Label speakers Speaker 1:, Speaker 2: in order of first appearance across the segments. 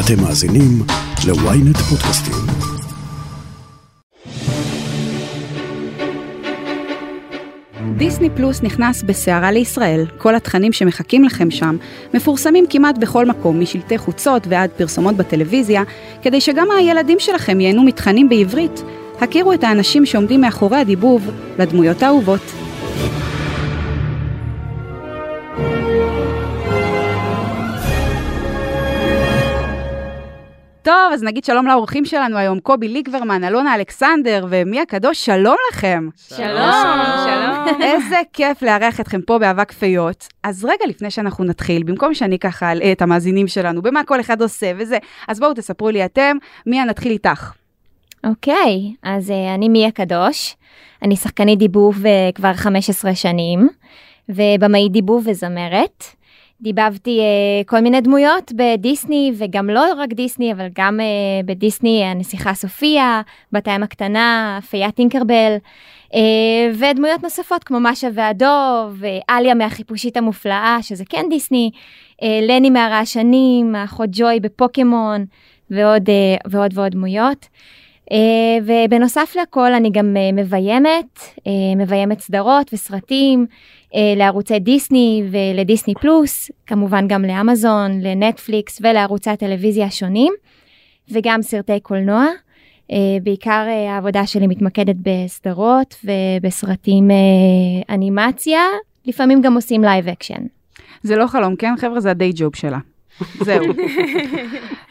Speaker 1: אתם מאזינים ל-ynet פודקאסטים.
Speaker 2: דיסני פלוס נכנס בסערה לישראל, כל התכנים שמחכים לכם שם מפורסמים כמעט בכל מקום, משלטי חוצות ועד פרסומות בטלוויזיה, כדי שגם הילדים שלכם ייהנו מתכנים בעברית. הכירו את האנשים שעומדים מאחורי הדיבוב לדמויות האהובות. טוב, אז נגיד שלום לאורחים שלנו היום, קובי ליקברמן, אלונה אלכסנדר ומיה קדוש, שלום לכם.
Speaker 3: שלום.
Speaker 2: איזה כיף לארח אתכם פה באבק פיות. אז רגע לפני שאנחנו נתחיל, במקום שאני ככה אלאה את המאזינים שלנו, במה כל אחד עושה וזה, אז בואו תספרו לי אתם, מיה נתחיל איתך.
Speaker 3: אוקיי, אז אה, אני מיה קדוש, אני שחקנית דיבוב אה, כבר 15 שנים, ובמאי דיבוב וזמרת. דיבבתי אה, כל מיני דמויות בדיסני, וגם לא רק דיסני, אבל גם אה, בדיסני הנסיכה סופיה, בת הים הקטנה, פייה טינקרבל, אה, ודמויות נוספות כמו משה והדוב, אה, עליה מהחיפושית המופלאה, שזה כן דיסני, אה, לני מהרעשנים, האחות ג'וי בפוקימון, ועוד אה, ועוד, ועוד דמויות. אה, ובנוסף לכל אני גם אה, מביימת, אה, מביימת סדרות וסרטים אה, לערוצי דיסני ולדיסני פלוס, כמובן גם לאמזון, לנטפליקס ולערוצי הטלוויזיה השונים, וגם סרטי קולנוע. אה, בעיקר אה, העבודה שלי מתמקדת בסדרות ובסרטים אה, אנימציה, לפעמים גם עושים לייב אקשן.
Speaker 2: זה לא חלום, כן, חבר'ה? זה הדיי ג'וב שלה. זהו.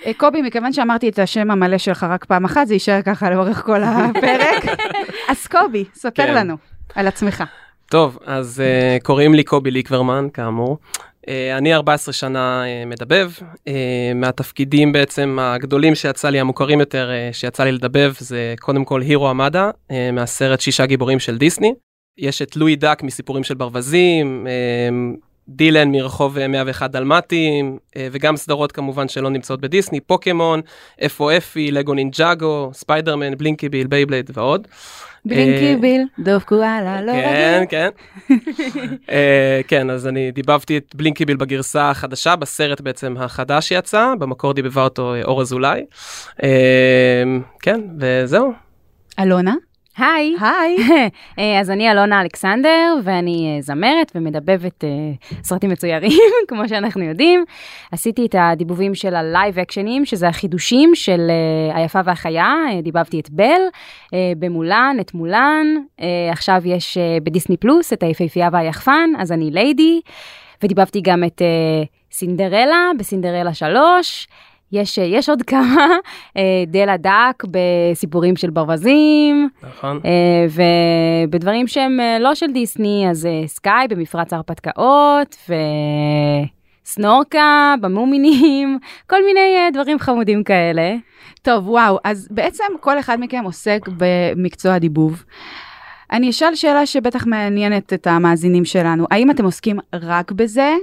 Speaker 2: אה, קובי, מכיוון שאמרתי את השם המלא שלך רק פעם אחת, זה יישאר ככה לאורך כל הפרק. אז קובי, ספר
Speaker 4: כן.
Speaker 2: לנו על עצמך.
Speaker 4: טוב, אז uh, קוראים לי קובי ליקברמן, כאמור. Uh, אני 14 שנה uh, מדבב. Uh, מהתפקידים בעצם הגדולים שיצא לי, המוכרים יותר, uh, שיצא לי לדבב, זה קודם כל הירו עמדה, uh, מהסרט שישה גיבורים של דיסני. יש את לואי דק מסיפורים של ברווזים, uh, דילן מרחוב אה, 101 דלמטים, uh, וגם סדרות כמובן שלא נמצאות בדיסני, פוקימון, אפו אפי, E, לגו נינג'אגו, ספיידרמן, בלינקי ביל, בייבלייד ועוד.
Speaker 2: בלינקי
Speaker 4: אה,
Speaker 2: ביל, דוב קואלה, לא
Speaker 4: כן,
Speaker 2: רגיל.
Speaker 4: כן. אה, כן, אז אני דיבבתי את בלינקיביל בגרסה החדשה, בסרט בעצם החדש שיצא, במקור דיבבה אותו אה, אור אזולאי. אה, כן, וזהו.
Speaker 2: אלונה?
Speaker 5: היי,
Speaker 2: היי.
Speaker 5: אה, אז אני אלונה אלכסנדר, ואני אה, זמרת ומדבבת אה, סרטים מצוירים, כמו שאנחנו יודעים. עשיתי את הדיבובים של הלייב אקשנים, שזה החידושים של אה, היפה והחיה, אה, דיבבתי את בל, אה, במולן, את מולן, אה, עכשיו יש אה, בדיסני פלוס את היפהפייה והיחפן, אז אני ליידי, ודיבבתי גם את אה, סינדרלה בסינדרלה 3. יש, אה, יש עוד כמה, אה, דלה דק בסיפורים של ברווזים,
Speaker 4: נכון.
Speaker 5: אה, ובדברים שהם אה, לא של דיסני, אז אה, סקאי במפרץ ההרפתקאות, וסנורקה במומינים, כל מיני אה, דברים חמודים כאלה.
Speaker 2: טוב, וואו, אז בעצם כל אחד מכם עוסק במקצוע הדיבוב. אני אשאל שאלה שבטח מעניינת את המאזינים שלנו. האם אתם עוסקים רק בזה?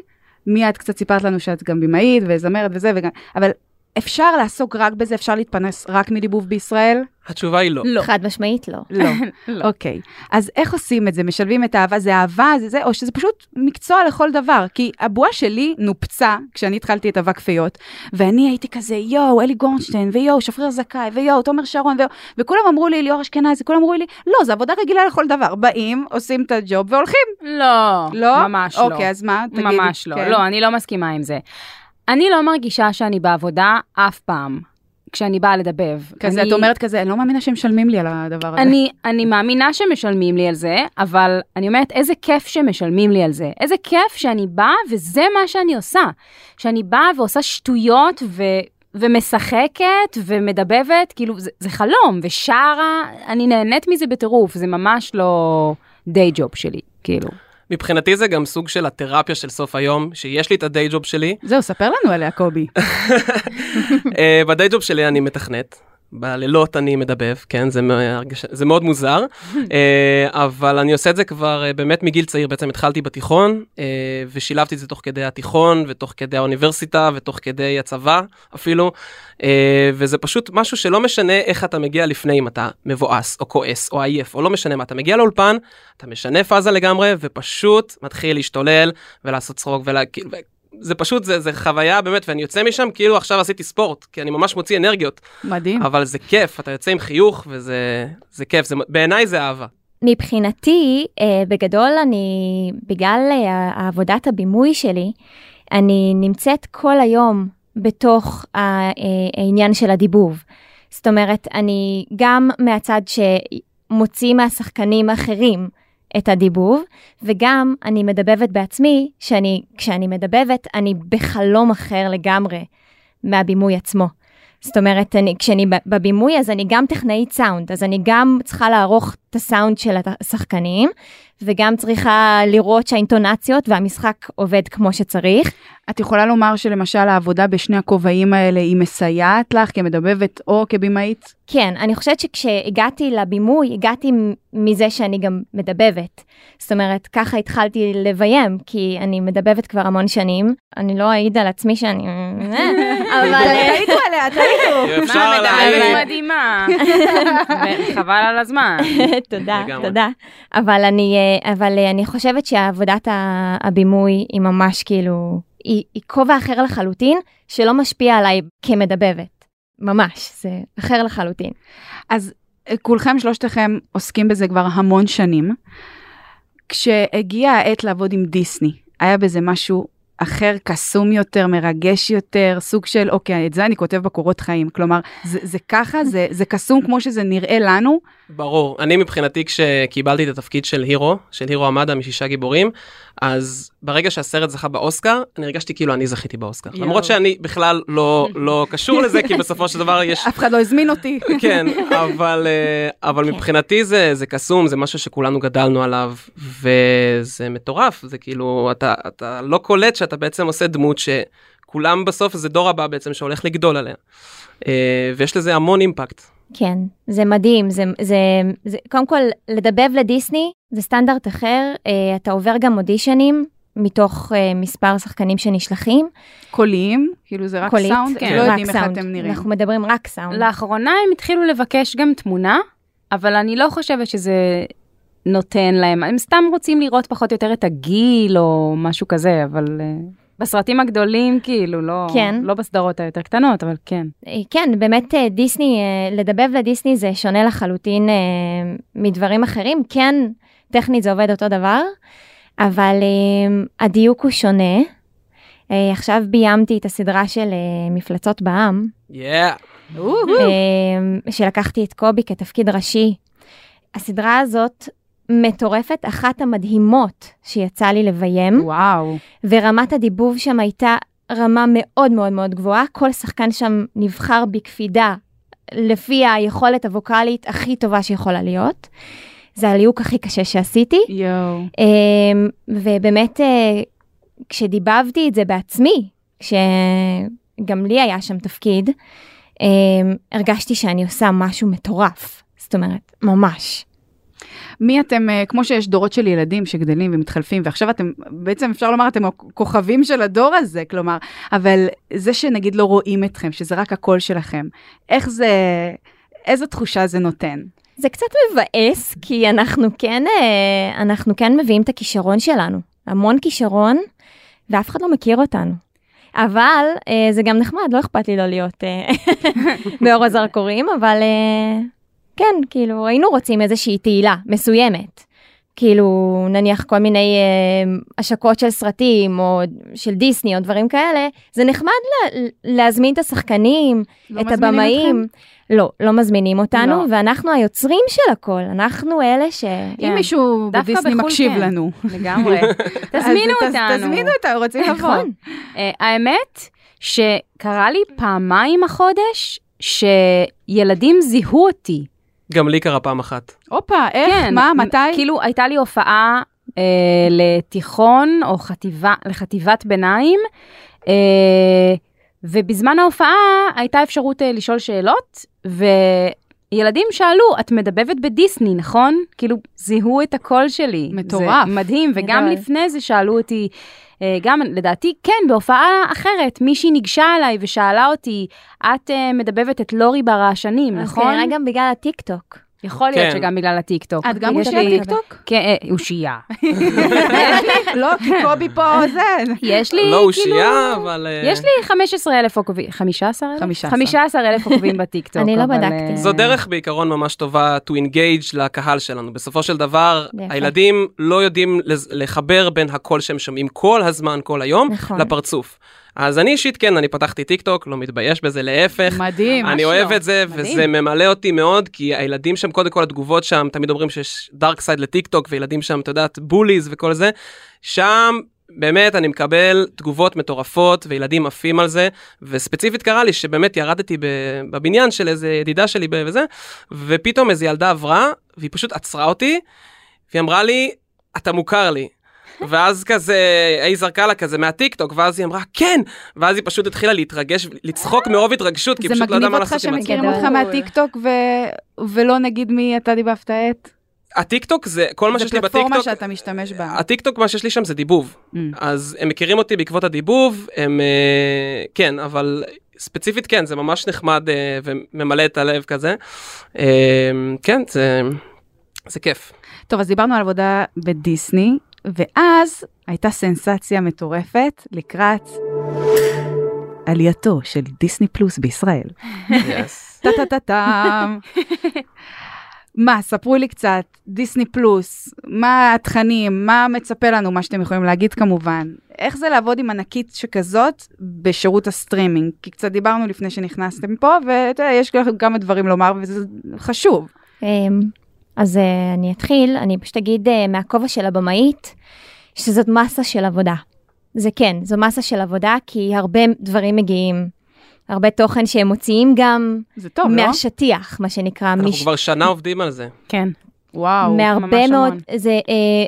Speaker 2: מיד קצת סיפרת לנו שאת גם במאית וזמרת וזה, וגם... אבל אפשר לעסוק רק בזה? אפשר להתפרנס רק מדיבוב בישראל?
Speaker 4: התשובה היא לא.
Speaker 2: לא.
Speaker 3: חד משמעית לא.
Speaker 2: לא. אוקיי. אז איך עושים את זה? משלבים את האהבה? זה אהבה? זה זה? או שזה פשוט מקצוע לכל דבר? כי הבועה שלי נופצה כשאני התחלתי את אבק פיות, ואני הייתי כזה, יואו, אלי גורנשטיין, ויואו, שפריר זכאי, ויואו, תומר שרון, ויואו, וכולם אמרו לי, ליאור אשכנזי, כולם אמרו לי, לא, זו עבודה רגילה לכל דבר. באים, עושים את הג'וב והולכים.
Speaker 5: לא,
Speaker 2: לא?
Speaker 5: ממש לא.
Speaker 2: אוקיי, אז מה? תגידי.
Speaker 5: ממש לא.
Speaker 2: כן.
Speaker 5: לא, אני לא מסכימה עם זה. אני לא מרגישה שאני בעבודה אף פעם, כשאני באה לדבב.
Speaker 2: כזה,
Speaker 5: אני-
Speaker 2: את אומרת כזה, אני לא מאמינה שהם משלמים לי על הדבר הזה.
Speaker 5: אני, אני מאמינה שמשלמים לי על זה, אבל אני אומרת, איזה כיף שמשלמים לי על זה. איזה כיף שאני באה, וזה מה שאני עושה. שאני באה ועושה שטויות ו... ומשחקת ומדבבת, כאילו, זה, זה חלום, ושרה, אני נהנית מזה בטירוף, זה ממש לא דיי ג'וב שלי, כאילו.
Speaker 4: מבחינתי זה גם סוג של התרפיה של סוף היום, שיש לי את הדיי ג'וב שלי.
Speaker 2: זהו, ספר לנו עליה, קובי.
Speaker 4: אה, בדיי ג'וב שלי אני מתכנת. בלילות אני מדבב, כן, זה, מ- הרגשה- זה מאוד מוזר, אה, אבל אני עושה את זה כבר אה, באמת מגיל צעיר, בעצם התחלתי בתיכון, אה, ושילבתי את זה תוך כדי התיכון, ותוך כדי האוניברסיטה, ותוך כדי הצבא אפילו, אה, וזה פשוט משהו שלא משנה איך אתה מגיע לפני, אם אתה מבואס, או כועס, או עייף, או לא משנה מה, אתה מגיע לאולפן, אתה משנה פאזה לגמרי, ופשוט מתחיל להשתולל, ולעשות צחוק, ולה... כאילו, זה פשוט, זה, זה חוויה באמת, ואני יוצא משם כאילו עכשיו עשיתי ספורט, כי אני ממש מוציא אנרגיות,
Speaker 2: מדהים.
Speaker 4: אבל זה כיף, אתה יוצא עם חיוך וזה זה כיף, זה, בעיניי זה אהבה.
Speaker 3: מבחינתי, אה, בגדול, אני, בגלל אה, עבודת הבימוי שלי, אני נמצאת כל היום בתוך ה- אה, העניין של הדיבוב. זאת אומרת, אני גם מהצד שמוציא מהשחקנים האחרים את הדיבוב, וגם אני מדבבת בעצמי, שאני, כשאני מדבבת, אני בחלום אחר לגמרי מהבימוי עצמו. זאת אומרת, אני, כשאני ב- בבימוי, אז אני גם טכנאית סאונד, אז אני גם צריכה לערוך את הסאונד של השחקנים, וגם צריכה לראות שהאינטונציות והמשחק עובד כמו שצריך.
Speaker 2: את יכולה לומר שלמשל העבודה בשני הכובעים האלה היא מסייעת לך כמדבבת או כבמאית?
Speaker 3: כן, אני חושבת שכשהגעתי לבימוי, הגעתי מ- מזה שאני גם מדבבת. זאת אומרת, ככה התחלתי לביים, כי אני מדבבת כבר המון שנים. אני לא אעיד על עצמי שאני... אבל... אה,
Speaker 2: תעידו עליה, תעידו.
Speaker 4: כאילו, אפשר
Speaker 5: מדברת
Speaker 4: להגיד,
Speaker 5: מדהימה. חבל על הזמן.
Speaker 3: תודה,
Speaker 4: לגמרי.
Speaker 3: תודה. אבל אני, אה, אבל אה, אני חושבת שעבודת ה- הבימוי היא ממש כאילו, היא היא כובע אחר לחלוטין, שלא משפיע עליי כמדבבת. ממש, זה אחר לחלוטין.
Speaker 2: אז אה, כולכם, שלושתכם, עוסקים בזה כבר המון שנים. כשהגיעה העת לעבוד עם דיסני, היה בזה משהו אחר, קסום יותר, מרגש יותר, סוג של, אוקיי, את זה אני כותב בקורות חיים. כלומר, זה, זה ככה, זה, זה קסום כמו שזה נראה לנו.
Speaker 4: ברור, אני מבחינתי כשקיבלתי את התפקיד של הירו, של הירו עמדה משישה גיבורים, אז ברגע שהסרט זכה באוסקר, אני הרגשתי כאילו אני זכיתי באוסקר.
Speaker 2: יואו.
Speaker 4: למרות שאני בכלל לא, לא קשור לזה, כי בסופו של דבר יש
Speaker 2: אף אחד לא הזמין אותי.
Speaker 4: כן, אבל, אה, אבל
Speaker 3: כן.
Speaker 4: מבחינתי זה, זה קסום, זה משהו שכולנו גדלנו עליו, וזה מטורף, זה כאילו, אתה, אתה לא קולט שאתה בעצם עושה דמות שכולם בסוף, זה דור הבא בעצם שהולך לגדול עליה. אה, ויש לזה המון אימפקט.
Speaker 3: כן, זה מדהים, זה, זה, זה, קודם כל, לדבב לדיסני זה סטנדרט אחר, אה, אתה עובר גם אודישנים מתוך אה, מספר שחקנים שנשלחים.
Speaker 2: קוליים, כאילו זה רק
Speaker 3: קולית,
Speaker 2: סאונד,
Speaker 5: כן.
Speaker 2: לא
Speaker 3: רק נכון.
Speaker 2: יודעים איך
Speaker 3: סאונד.
Speaker 2: אתם נראים.
Speaker 3: אנחנו מדברים רק
Speaker 2: נכון.
Speaker 3: סאונד.
Speaker 5: לאחרונה הם התחילו לבקש גם תמונה, אבל אני לא חושבת שזה נותן להם, הם סתם רוצים לראות פחות או יותר את הגיל או משהו כזה, אבל... אה, בסרטים הגדולים, כאילו, לא,
Speaker 3: כן.
Speaker 5: לא בסדרות היותר קטנות, אבל כן.
Speaker 3: אה, כן, באמת אה, דיסני, אה, לדבב לדיסני זה שונה לחלוטין אה, מדברים אחרים. כן, טכנית זה עובד אותו דבר, אבל אה, הדיוק הוא שונה. אה, עכשיו ביימתי את הסדרה של אה, מפלצות בעם,
Speaker 4: יאה,
Speaker 3: אה, שלקחתי את קובי כתפקיד ראשי. הסדרה הזאת מטורפת, אחת המדהימות שיצא לי לביים.
Speaker 2: וואו.
Speaker 3: ורמת הדיבוב שם הייתה רמה מאוד מאוד מאוד גבוהה. כל שחקן שם נבחר בקפידה לפי היכולת הווקאלית הכי טובה שיכולה להיות. זה הליהוק הכי קשה שעשיתי.
Speaker 2: יואו.
Speaker 3: אמ, ובאמת, אה, כשדיבבתי את זה בעצמי, כשגם לי היה שם תפקיד, אמ, הרגשתי שאני עושה משהו מטורף. זאת אומרת, ממש.
Speaker 2: מי אתם, אה, כמו שיש דורות של ילדים שגדלים ומתחלפים, ועכשיו אתם, בעצם אפשר לומר, אתם הכוכבים של הדור הזה, כלומר, אבל זה שנגיד לא רואים אתכם, שזה רק הקול שלכם, איך זה, איזו תחושה זה נותן?
Speaker 3: זה קצת מבאס, כי אנחנו כן, אה, אנחנו כן מביאים את הכישרון שלנו. המון כישרון, ואף אחד לא מכיר אותנו. אבל אה, זה גם נחמד, לא אכפת לי לא להיות אה, באור הזרקורים, אבל אה, כן, כאילו, היינו רוצים איזושהי תהילה מסוימת. כאילו, נניח כל מיני אה, השקות של סרטים, או של דיסני, או דברים כאלה, זה נחמד לה, להזמין את השחקנים,
Speaker 2: לא
Speaker 3: את
Speaker 2: מזמינים
Speaker 3: הבמאים. לא, לא מזמינים אותנו,
Speaker 2: לא. אוקיי,
Speaker 3: ואנחנו היוצרים של הכל, אנחנו אלה ש...
Speaker 2: אתכם? אם מישהו
Speaker 5: כן. דווקא
Speaker 2: בדיסני
Speaker 5: בחו"ל
Speaker 2: מקשיב
Speaker 5: כן.
Speaker 2: לנו.
Speaker 5: לגמרי.
Speaker 2: אז
Speaker 5: תזמינו
Speaker 2: תז-
Speaker 5: אותנו.
Speaker 2: תזמינו אותנו, רוצים לבוא.
Speaker 3: נכון.
Speaker 5: אה, האמת שקרה לי פעמיים החודש שילדים זיהו אותי.
Speaker 4: גם לי קרה פעם אחת.
Speaker 2: הופה, איך, מה, מתי?
Speaker 5: כאילו הייתה לי הופעה אה, לתיכון או חטיבה, לחטיבת ביניים, אה, ובזמן ההופעה הייתה אפשרות אה, לשאול שאלות, וילדים שאלו, את מדבבת בדיסני, נכון? כאילו, זיהו את הקול שלי.
Speaker 2: מטורף.
Speaker 5: זה מדהים, וגם
Speaker 3: מטורף.
Speaker 5: לפני זה שאלו אותי, אה, גם לדעתי, כן, בהופעה אחרת, מישהי ניגשה אליי ושאלה אותי, את אה, מדבבת את לורי ברעשנים,
Speaker 3: אז
Speaker 5: נכון?
Speaker 3: כנראה גם בגלל הטיקטוק.
Speaker 5: יכול להיות
Speaker 4: כן.
Speaker 5: שגם בגלל הטיקטוק.
Speaker 2: כן, את גם
Speaker 5: יש
Speaker 2: מושקעת
Speaker 5: לי-
Speaker 2: טיקטוק?
Speaker 5: כן, אה, אושייה.
Speaker 2: לא, כי קובי פה זה.
Speaker 5: יש לי,
Speaker 4: לא
Speaker 5: כאילו...
Speaker 4: אושייה, אבל... אה,
Speaker 5: יש לי 15 אלף עוקבים, 15 אלף?
Speaker 2: 15,000.
Speaker 5: 15 אלף עוקבים בטיקטוק.
Speaker 3: אני לא
Speaker 5: אבל,
Speaker 3: בדקתי.
Speaker 5: אה,
Speaker 4: זו דרך בעיקרון ממש טובה to engage לקהל שלנו. בסופו של דבר,
Speaker 3: בהחלט.
Speaker 4: הילדים לא יודעים לז- לחבר בין הקול שהם שומעים כל הזמן, כל היום,
Speaker 3: נכון.
Speaker 4: לפרצוף. אז אני אישית, כן, אני פתחתי טיק טוק, לא מתבייש בזה, להפך.
Speaker 2: מדהים.
Speaker 4: אני
Speaker 2: ממש
Speaker 4: אוהב
Speaker 2: לא.
Speaker 4: את זה,
Speaker 2: מדהים.
Speaker 4: וזה ממלא אותי מאוד, כי הילדים שם, קודם כל התגובות שם, תמיד אומרים שיש דארק סייד לטיק טוק, וילדים שם, את יודעת, בוליז וכל זה. שם, באמת, אני מקבל תגובות מטורפות, וילדים עפים על זה, וספציפית קרה לי שבאמת ירדתי ב- בבניין של איזה ידידה שלי ב- וזה, ופתאום איזו ילדה עברה, והיא פשוט עצרה אותי, והיא אמרה לי, אתה מוכר לי. ואז כזה, היא זרקה לה כזה מהטיקטוק, ואז היא אמרה, כן! ואז היא פשוט התחילה להתרגש, לצחוק מרוב התרגשות, כי
Speaker 2: זה
Speaker 4: פשוט לא ידעה
Speaker 2: מגניב
Speaker 4: מה
Speaker 2: אותך
Speaker 4: לעשות עם עצמה.
Speaker 2: שמכירים
Speaker 3: גדול.
Speaker 2: אותך מהטיקטוק ו- ולא נגיד מי אתה דיבבת את?
Speaker 4: הטיקטוק זה, כל מה
Speaker 2: זה
Speaker 4: שיש לי
Speaker 2: פלטפורמה
Speaker 4: בטיקטוק,
Speaker 2: שאתה משתמש בה.
Speaker 4: הטיקטוק, מה שיש לי שם זה דיבוב.
Speaker 2: Mm.
Speaker 4: אז הם מכירים אותי בעקבות הדיבוב, הם, אה, כן, אבל ספציפית כן, זה ממש נחמד אה, וממלא את הלב כזה. אה, כן, זה... זה כיף.
Speaker 2: טוב, אז דיברנו על עבודה בדיסני, ואז הייתה סנסציה מטורפת לקראת עלייתו של דיסני פלוס בישראל. טה-טה-טה-טם. מה, ספרו לי קצת, דיסני פלוס, מה התכנים, מה מצפה לנו, מה שאתם יכולים להגיד כמובן. איך זה לעבוד עם ענקית שכזאת בשירות הסטרימינג? כי קצת דיברנו לפני שנכנסתם פה, ואתה יודע, יש לכם כמה דברים לומר, וזה חשוב.
Speaker 3: אמ, אז אה, אני אתחיל, אני פשוט אגיד אה, מהכובע של הבמאית, שזאת מסה של עבודה. זה כן, זו מסה של עבודה, כי הרבה דברים מגיעים, הרבה תוכן שהם מוציאים גם
Speaker 2: זה טוב, לא?
Speaker 3: מהשטיח, מה שנקרא,
Speaker 4: אנחנו
Speaker 3: מש-
Speaker 4: כבר שנה עובדים על זה.
Speaker 5: כן.
Speaker 2: וואו,
Speaker 3: מהרבה
Speaker 5: ממש
Speaker 3: מאוד,
Speaker 5: המון.
Speaker 3: זה אה,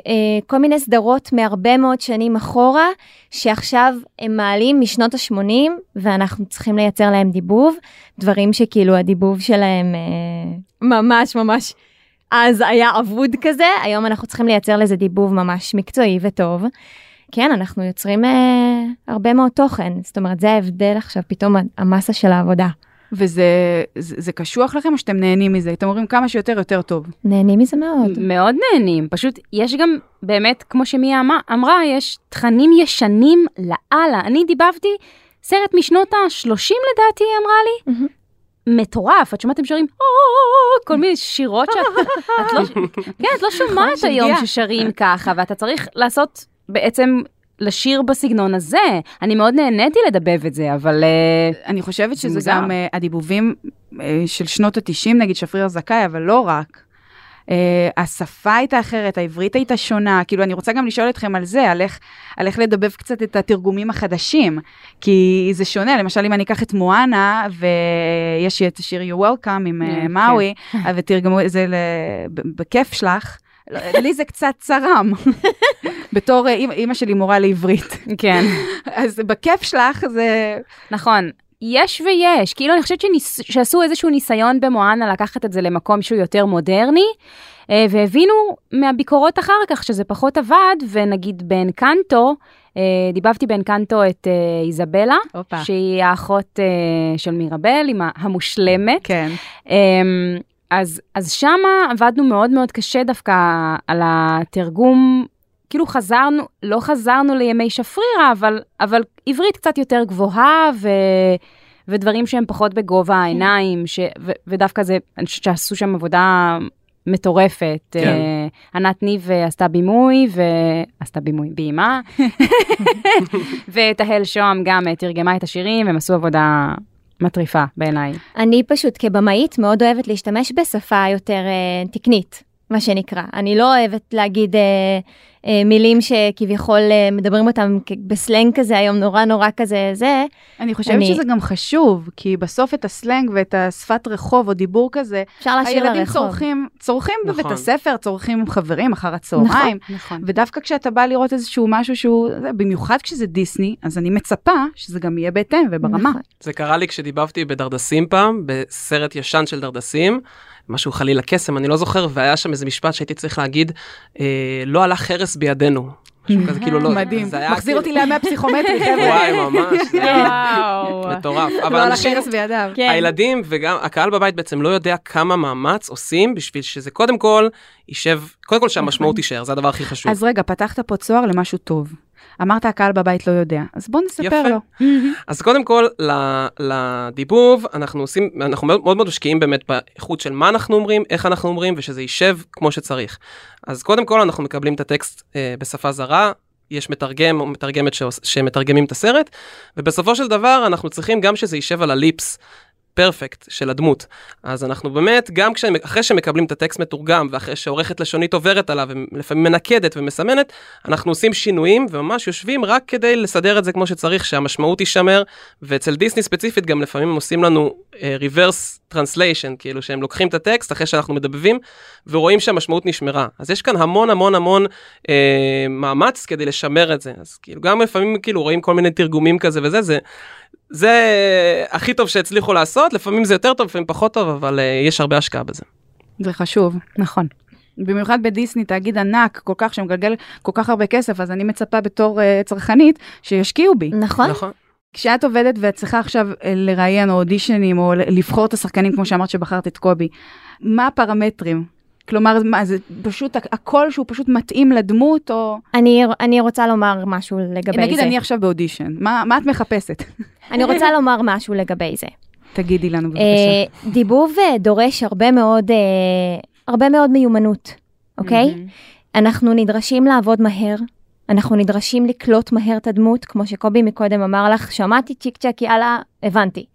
Speaker 3: אה, כל מיני סדרות מהרבה מאוד שנים אחורה, שעכשיו הם מעלים משנות ה-80, ואנחנו צריכים לייצר להם דיבוב, דברים שכאילו הדיבוב שלהם אה, ממש ממש אז היה אבוד כזה, היום אנחנו צריכים לייצר לזה דיבוב ממש מקצועי וטוב. כן, אנחנו יוצרים אה, הרבה מאוד תוכן, זאת אומרת, זה ההבדל עכשיו, פתאום המסה של העבודה.
Speaker 2: וזה זה, זה קשוח לכם או שאתם נהנים מזה? אתם אומרים כמה שיותר יותר טוב.
Speaker 3: נהנים מזה מאוד.
Speaker 5: מאוד נהנים, פשוט יש גם באמת, כמו שמיה אמרה- אמרה, יש תכנים ישנים לאללה. אני דיבבתי סרט משנות ה-30 לדעתי, היא אמרה לי,
Speaker 3: מהמם.
Speaker 5: מטורף, את שומעת הם שרים "או-או-או-או", כל מיני שירות שאת את לא, כן, את לא שומעת
Speaker 2: נכון,
Speaker 5: היום
Speaker 2: שגיאה.
Speaker 5: ששרים ככה, ואתה צריך לעשות בעצם לשיר בסגנון הזה. אני מאוד נהניתי לדבב את זה, אבל אה,
Speaker 2: אני חושבת
Speaker 5: זה
Speaker 2: שזה
Speaker 5: מוזר.
Speaker 2: גם uh, הדיבובים uh, של שנות ה-90, נגיד שפריר זכאי, אבל לא רק. Uh, השפה הייתה אחרת, העברית הייתה שונה, כאילו אני רוצה גם לשאול אתכם על זה, על איך, על איך לדבב קצת את התרגומים החדשים, כי זה שונה, למשל אם אני אקח את מואנה, ויש לי את השיר You're Welcome עם
Speaker 5: כן.
Speaker 2: אה, מאווי, אה, ותרגמו את זה ל... ב- בכיף שלך, לא, לי זה קצת צרם, בתור אה, אימא אימא שלי מורה לעברית.
Speaker 5: כן.
Speaker 2: אז בכיף שלך זה...
Speaker 5: נכון. יש ויש, כאילו אני חושבת שניס... שעשו איזשהו ניסיון במואנה לקחת את זה למקום שהוא יותר מודרני, אה, והבינו מהביקורות אחר כך שזה פחות עבד, ונגיד באנקנטו, אה, דיבבתי באנקנטו את אה, איזבלה,
Speaker 2: הופה.
Speaker 5: שהיא האחות אה, של מירבל, עם ה- המושלמת.
Speaker 2: כן.
Speaker 5: אמ, אז, אז שמה עבדנו מאוד מאוד קשה דווקא על התרגום, כאילו חזרנו, לא חזרנו לימי שפרירה, אבל, אבל עברית קצת יותר גבוהה ו, ודברים שהם פחות בגובה העיניים, ש, ו, ודווקא זה, אני חושבת שעשו שם עבודה מטורפת.
Speaker 4: כן.
Speaker 5: אה, ענת ניב אה, עשתה בימוי, ועשתה בימוי, ביימה, ותהל שוהם גם אה, תרגמה את השירים, הם עשו עבודה מטריפה בעיניי.
Speaker 3: אני פשוט כבמאית מאוד אוהבת להשתמש בשפה יותר אה, תקנית, מה שנקרא. אני לא אוהבת להגיד אה, אה, מילים שכביכול אה, מדברים אותם כ- בסלנג כזה היום נורא נורא כזה זה.
Speaker 2: אני חושבת
Speaker 3: אני-
Speaker 2: שזה גם חשוב, כי בסוף את הסלנג ואת השפת רחוב או דיבור כזה,
Speaker 3: אפשר להשאיר
Speaker 2: הילדים
Speaker 3: לרחוב.
Speaker 2: צורכים, צורכים
Speaker 4: נכון.
Speaker 2: בבית הספר, צורכים עם חברים אחר הצהריים,
Speaker 5: נכון.
Speaker 2: ודווקא כשאתה בא לראות איזשהו משהו שהוא, זה, במיוחד כשזה דיסני, אז אני מצפה שזה גם יהיה בהתאם וברמה.
Speaker 3: נכון.
Speaker 4: זה קרה לי כשדיבבתי בדרדסים פעם, בסרט ישן של דרדסים, משהו חלילה קסם, אני לא זוכר, והיה שם איזה משפט שהייתי צריך להגיד, אה, לא הלך חרס בידינו. משהו כזה, כאילו לא,
Speaker 2: מדהים.
Speaker 4: זה היה
Speaker 2: מחזיר
Speaker 4: כאילו-
Speaker 2: אותי לימי הפסיכומטרי, חבר'ה.
Speaker 4: וואי, ממש, זה היה
Speaker 5: וואו.
Speaker 4: מטורף. אבל
Speaker 2: לא על
Speaker 4: אנשים-
Speaker 2: החרס בידיו.
Speaker 5: כן.
Speaker 4: הילדים וגם הקהל בבית בעצם לא יודע כמה מאמץ עושים בשביל שזה קודם כל יישב, קודם כל שהמשמעות תישאר, זה הדבר הכי חשוב.
Speaker 2: נכון. אז רגע, פתחת פה צוהר למשהו טוב. אמרת, הקהל בבית לא יודע, אז בוא נספר
Speaker 4: יפה.
Speaker 2: לו.
Speaker 4: אז קודם כל, ל- לדיבוב, אנחנו עושים, אנחנו מאוד מאוד משקיעים באמת באיכות של מה אנחנו אומרים, איך אנחנו אומרים, ושזה יישב כמו שצריך. אז קודם כל, אנחנו מקבלים את הטקסט אה, בשפה זרה. יש מתרגם או מתרגמת שעוש- שמתרגמים את הסרט, ובסופו של דבר אנחנו צריכים גם שזה יישב על הליפס פרפקט של הדמות. אז אנחנו באמת, גם כשהם, אחרי שמקבלים את הטקסט מתורגם, ואחרי שעורכת לשונית עוברת עליו, ולפעמים מנקדת ומסמנת, אנחנו עושים שינויים, וממש יושבים רק כדי לסדר את זה כמו שצריך, שהמשמעות תישמר, ואצל דיסני ספציפית גם לפעמים הם עושים לנו ריברס uh, טרנסליישן, כאילו שהם לוקחים את הטקסט אחרי שאנחנו מדבבים, ורואים שהמשמעות נשמרה. אז יש כאן המון המון המון uh, מאמץ כדי לשמר את זה. אז כאילו גם לפעמים כאילו רואים כל מיני תרגומים כזה וזה, זה... זה הכי טוב שהצליחו לעשות, לפעמים זה יותר טוב, לפעמים פחות טוב, אבל אה, יש הרבה השקעה בזה.
Speaker 2: זה חשוב.
Speaker 5: נכון.
Speaker 2: במיוחד בדיסני, תאגיד ענק כל כך שמגלגל כל כך הרבה כסף, אז אני מצפה בתור אה, צרכנית שישקיעו בי.
Speaker 3: נכון?
Speaker 4: נכון.
Speaker 2: כשאת עובדת ואת צריכה עכשיו אה, לראיין או אודישנים או ל- לבחור את השחקנים, כמו שאמרת שבחרת את קובי, מה הפרמטרים? כלומר, מה, זה פשוט הכ- הכל שהוא פשוט מתאים לדמות, או...
Speaker 3: אני, אני רוצה לומר משהו לגבי
Speaker 2: נגיד,
Speaker 3: זה.
Speaker 2: אני עכשיו באודישן, מה, מה את מחפשת?
Speaker 3: אני רוצה לומר משהו לגבי זה.
Speaker 2: תגידי לנו בבקשה.
Speaker 3: אה, דיבוב אה, דורש הרבה מאוד, אה, הרבה מאוד מיומנות, אוקיי?
Speaker 5: Mhm.
Speaker 3: אנחנו נדרשים לעבוד מהר, אנחנו נדרשים לקלוט מהר את הדמות, כמו שקובי מקודם אמר לך, שמעתי צ'יק צ'אק, יאללה, הבנתי.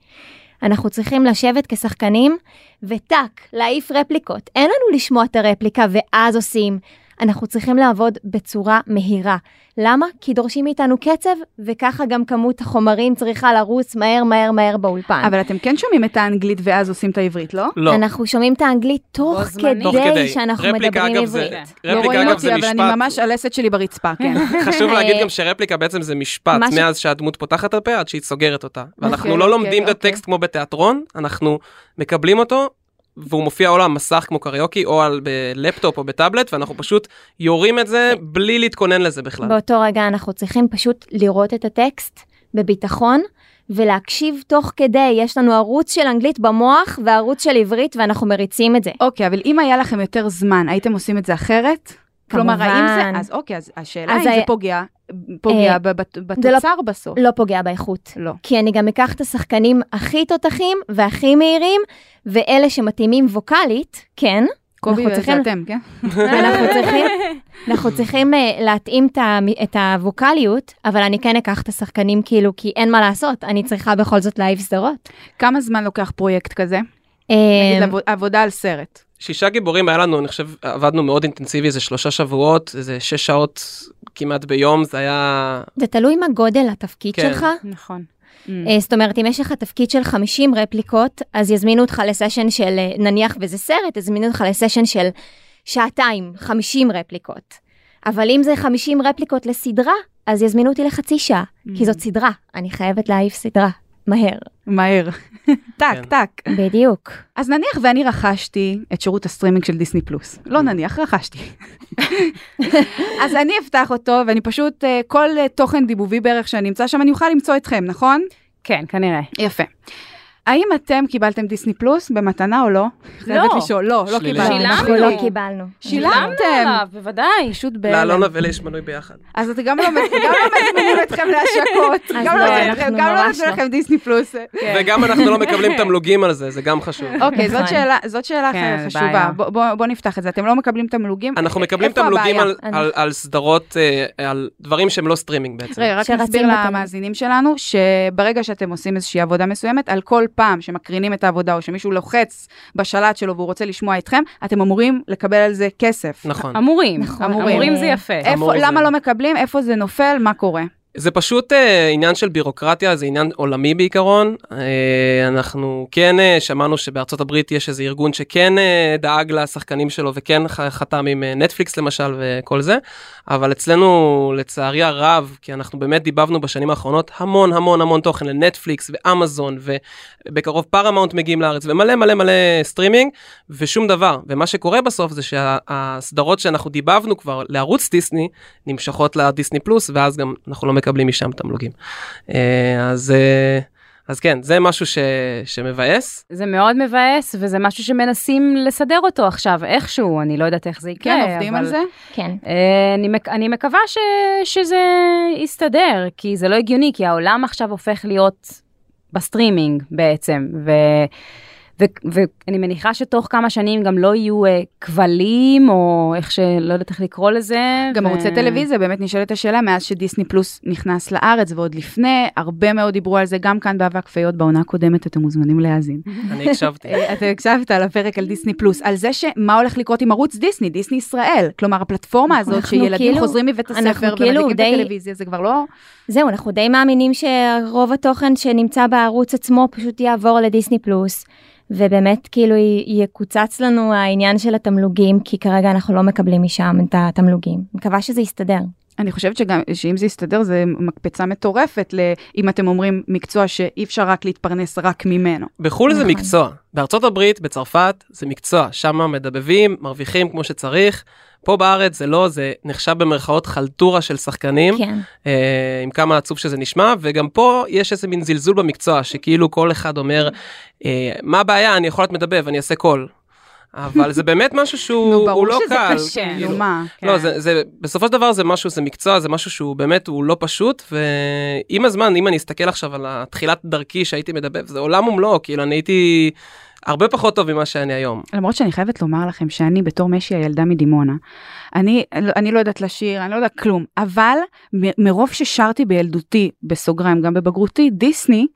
Speaker 3: אנחנו צריכים לשבת כשחקנים, וטאק, להעיף רפליקות. אין לנו לשמוע את הרפליקה, ואז עושים. אנחנו צריכים לעבוד בצורה מהירה. למה? כי דורשים מאיתנו קצב, וככה גם כמות החומרים צריכה לרוץ מהר מהר מהר באולפן.
Speaker 2: אבל אתם כן שומעים את האנגלית ואז עושים את העברית, לא?
Speaker 4: לא.
Speaker 3: אנחנו שומעים את האנגלית תוך
Speaker 5: זמנית.
Speaker 3: כדי,
Speaker 4: תוך כדי.
Speaker 3: שאנחנו
Speaker 4: רפליקה,
Speaker 3: מדברים
Speaker 4: אגב, זה-
Speaker 3: עברית.
Speaker 2: לא
Speaker 4: רפליקה,
Speaker 2: רואים
Speaker 4: אגב, זה
Speaker 2: אותי, אבל אני
Speaker 4: משפט.
Speaker 2: ממש, הלסת שלי ברצפה, כן.
Speaker 4: חשוב להגיד
Speaker 3: אה,
Speaker 4: גם שרפליקה בעצם זה משפט
Speaker 3: מה ש-
Speaker 4: מאז שהדמות פותחת את הפה עד שהיא סוגרת אותה. ואנחנו
Speaker 2: אוקיי,
Speaker 4: לא לומדים את
Speaker 2: אוקיי.
Speaker 4: הטקסט כמו בתיאטרון, אנחנו מקבלים אותו, והוא מופיע או על המסך כמו קריוקי, או על בלפטופ או בטאבלט, ואנחנו פשוט יורים את זה
Speaker 2: אוקיי.
Speaker 4: בלי להתכונן לזה בכלל.
Speaker 3: באותו רגע אנחנו צריכים פשוט לראות את הטקסט בביטחון ולהקשיב תוך כדי, יש לנו ערוץ של אנגלית במוח וערוץ של עברית ואנחנו מריצים את זה.
Speaker 2: אוקיי, אבל אם היה לכם יותר זמן, הייתם עושים את זה אחרת? כלומר, האם זה...
Speaker 3: כמובן.
Speaker 2: אז אוקיי, אז השאלה
Speaker 3: אז
Speaker 2: אם זה
Speaker 3: היה-
Speaker 2: פוגע, פוגע
Speaker 3: אה,
Speaker 2: ב- בת-
Speaker 3: זה לא-
Speaker 2: בתוצר בסוף.
Speaker 3: לא פוגע באיכות.
Speaker 2: לא.
Speaker 3: כי אני גם אקח את השחקנים הכי תותחים והכי מהירים, ואלה שמתאימים ווקאלית, כן,
Speaker 2: קובי
Speaker 3: אנחנו
Speaker 2: וזה
Speaker 3: צריכים-
Speaker 2: אתם, כן?
Speaker 3: אנחנו צריכים, אנחנו צריכים אה, להתאים את ה- את הווקאליות, אבל אני כן אקח את השחקנים כאילו, כי אין מה לעשות, אני צריכה בכל זאת להעיף סדרות.
Speaker 2: כמה זמן לוקח פרויקט כזה?
Speaker 3: אה,
Speaker 2: נגיד לעבוד- עבודה על סרט.
Speaker 4: שישה גיבורים היה לנו, אני חושב, עבדנו מאוד אינטנסיבי, איזה שלושה שבועות, איזה שש שעות כמעט ביום, זה היה...
Speaker 3: זה תלוי מה גודל התפקיד
Speaker 4: כן.
Speaker 3: שלך.
Speaker 5: נכון.
Speaker 3: אה, זאת אומרת, אם יש לך תפקיד של 50 רפליקות, אז יזמינו אותך לסשן של, אה, נניח וזה סרט, יזמינו אותך לסשן של שעתיים, 50 רפליקות. אבל אם זה 50 רפליקות לסדרה, אז יזמינו אותי לחצי שעה, כי זאת סדרה, אני חייבת להעיף סדרה, מהר.
Speaker 2: מהר. טק,
Speaker 4: כן.
Speaker 2: טק.
Speaker 3: בדיוק.
Speaker 2: אז נניח ואני רכשתי את שירות הסטרימינג של דיסני פלוס. לא נניח, רכשתי. אז אני אפתח אותו, ואני פשוט, אה, כל אה, תוכן דיבובי בערך שאני אמצא שם, אני אוכל למצוא אתכם, נכון?
Speaker 5: כן, כנראה.
Speaker 2: יפה. האם אתם קיבלתם דיסני פלוס במתנה או לא? חייבת לשאול. לא, לא
Speaker 4: שלילי.
Speaker 2: קיבלתם.
Speaker 5: שילמנו.
Speaker 3: אנחנו לא קיבלנו.
Speaker 2: שילמתם.
Speaker 5: עליו, בוודאי.
Speaker 2: פשוט
Speaker 4: לא,
Speaker 2: בהלם.
Speaker 4: לאלונה ולי יש מנוי ביחד.
Speaker 2: אז אתם גם לא מז- גם לא מזמינים אתכם להשקות.
Speaker 3: אז
Speaker 2: גם לא
Speaker 3: לא,
Speaker 2: מזמינים
Speaker 3: אנחנו
Speaker 2: אתכם- גם לא
Speaker 3: ממש
Speaker 2: מזמינים
Speaker 3: לא. כן.
Speaker 2: לכם דיסני פלוס.
Speaker 4: וגם אנחנו לא מקבלים תמלוגים על זה, זה גם חשוב.
Speaker 2: אוקיי, זאת
Speaker 3: נכון.
Speaker 2: שאלה- זאת שאלה
Speaker 5: כן,
Speaker 2: ח-
Speaker 5: זה
Speaker 2: חשובה.
Speaker 5: בעיה.
Speaker 2: בוא- בוא- בוא נפתח את זה. אתם לא מקבלים תמלוגים?
Speaker 4: אנחנו מקבלים
Speaker 2: איפה
Speaker 4: תמלוגים
Speaker 2: הבעיה?
Speaker 4: על, על, על סדרות, אה, על דברים שהם לא סטרימינג בעצם.
Speaker 2: רגע, רק
Speaker 3: שרצים
Speaker 2: נסביר
Speaker 3: בתל-
Speaker 2: למאזינים שלנו, שברגע שאתם עושים איזושהי עבודה מסוימת, על כל פעם שמקרינים את העבודה או שמישהו לוחץ בשלט שלו והוא רוצה לשמוע אתכם, אתם אמורים לקבל על זה כסף.
Speaker 4: נכון.
Speaker 5: אמורים.
Speaker 3: נכון.
Speaker 5: אמורים זה יפה.
Speaker 2: איפה,
Speaker 4: אמור זה-
Speaker 2: למה לא מקבלים? איפה זה נופל? מה קורה?
Speaker 4: זה פשוט אה, עניין של בירוקרטיה, זה עניין עולמי בעיקרון. אה, אנחנו כן אה, שמענו שבארצות הברית יש איזה ארגון שכן אה, דאג לשחקנים שלו וכן ח- חתם עם אה, נטפליקס למשל וכל זה, אבל אצלנו לצערי הרב, כי אנחנו באמת דיבבנו בשנים האחרונות המון המון המון תוכן לנטפליקס ואמזון ובקרוב פארמאונט מגיעים לארץ ומלא מלא מלא סטרימינג ושום דבר. ומה שקורה בסוף זה שהסדרות שאנחנו דיבבנו כבר לערוץ דיסני, נמשכות לדיסני פלוס, ואז גם אנחנו לא מקבלים משם תמלוגים. אה, אז, אה, אז כן, זה משהו ש, שמבאס.
Speaker 5: זה מאוד מבאס, וזה משהו שמנסים לסדר אותו עכשיו, איכשהו, אני לא יודעת איך זה יקרה.
Speaker 2: כן, עובדים
Speaker 5: אבל-
Speaker 2: על זה?
Speaker 3: כן.
Speaker 5: אה, אני, מק- אני מקווה ש, שזה יסתדר, כי זה לא הגיוני, כי העולם עכשיו הופך להיות בסטרימינג בעצם, ו, ו, ואני מניחה שתוך כמה שנים גם לא יהיו אה, כבלים, או איך שלא יודעת איך לקרוא לזה.
Speaker 2: גם
Speaker 5: ו-
Speaker 2: ערוצי טלוויזיה, באמת נשאלת השאלה, מאז שדיסני פלוס נכנס לארץ ועוד לפני, הרבה מאוד דיברו על זה, גם כאן באבק פיות בעונה הקודמת, אתם מוזמנים להאזין.
Speaker 4: אני הקשבתי.
Speaker 2: אה, אתה הקשבת לפרק על דיסני פלוס, על זה שמה הולך לקרות עם ערוץ דיסני, דיסני ישראל. כלומר, הפלטפורמה הזאת
Speaker 3: אנחנו
Speaker 2: שילדים
Speaker 3: כאילו-
Speaker 2: חוזרים מבית
Speaker 3: אנחנו
Speaker 2: הספר
Speaker 3: כאילו
Speaker 2: ומדליקים את
Speaker 3: די-
Speaker 2: הטלוויזיה, זה כבר לא...
Speaker 3: זהו, אנחנו די מאמינים שרוב התוכן שנמצא בערוץ עצמו פשוט יעבור לדיסני פלוס, ובאמת כאילו י- יקוצץ לנו העניין של התמלוגים, כי כרגע אנחנו לא מקבלים משם את התמלוגים. מקווה שזה יסתדר.
Speaker 2: אני חושבת שגם, שאם זה יסתדר, זה מקפצה מטורפת, ל- אם אתם אומרים מקצוע שאי אפשר רק להתפרנס רק ממנו.
Speaker 4: בחו"ל זה
Speaker 3: נכון.
Speaker 4: מקצוע, בארצות הברית, בצרפת, זה מקצוע, שם מדבבים, מרוויחים כמו שצריך. פה בארץ זה לא, זה נחשב במרכאות חלטורה של שחקנים,
Speaker 3: כן.
Speaker 4: אה, עם כמה עצוב שזה נשמע, וגם פה יש איזה מין זלזול במקצוע, שכאילו כל אחד אומר, אה, מה הבעיה, אני יכול להיות מדבב, אני אעשה קול. אבל זה באמת משהו שהוא
Speaker 2: נו,
Speaker 4: הוא
Speaker 2: ברור
Speaker 4: לא
Speaker 2: שזה
Speaker 4: קל.
Speaker 2: קשה,
Speaker 4: כאילו.
Speaker 2: נו מה.
Speaker 4: לא, זה, זה, בסופו של דבר זה משהו, זה מקצוע, זה משהו שהוא באמת, הוא לא פשוט, ועם הזמן, אם אני אסתכל עכשיו על התחילת דרכי שהייתי מדבב, זה עולם ומלואו, כאילו, אני הייתי הרבה פחות טוב ממה שאני היום.
Speaker 2: למרות שאני חייבת לומר לכם שאני בתור משי הילדה מדימונה, אני, אני לא יודעת לשיר, אני לא יודעת כלום, אבל מ- מרוב ששרתי בילדותי, בסוגריים, גם בבגרותי, דיסני,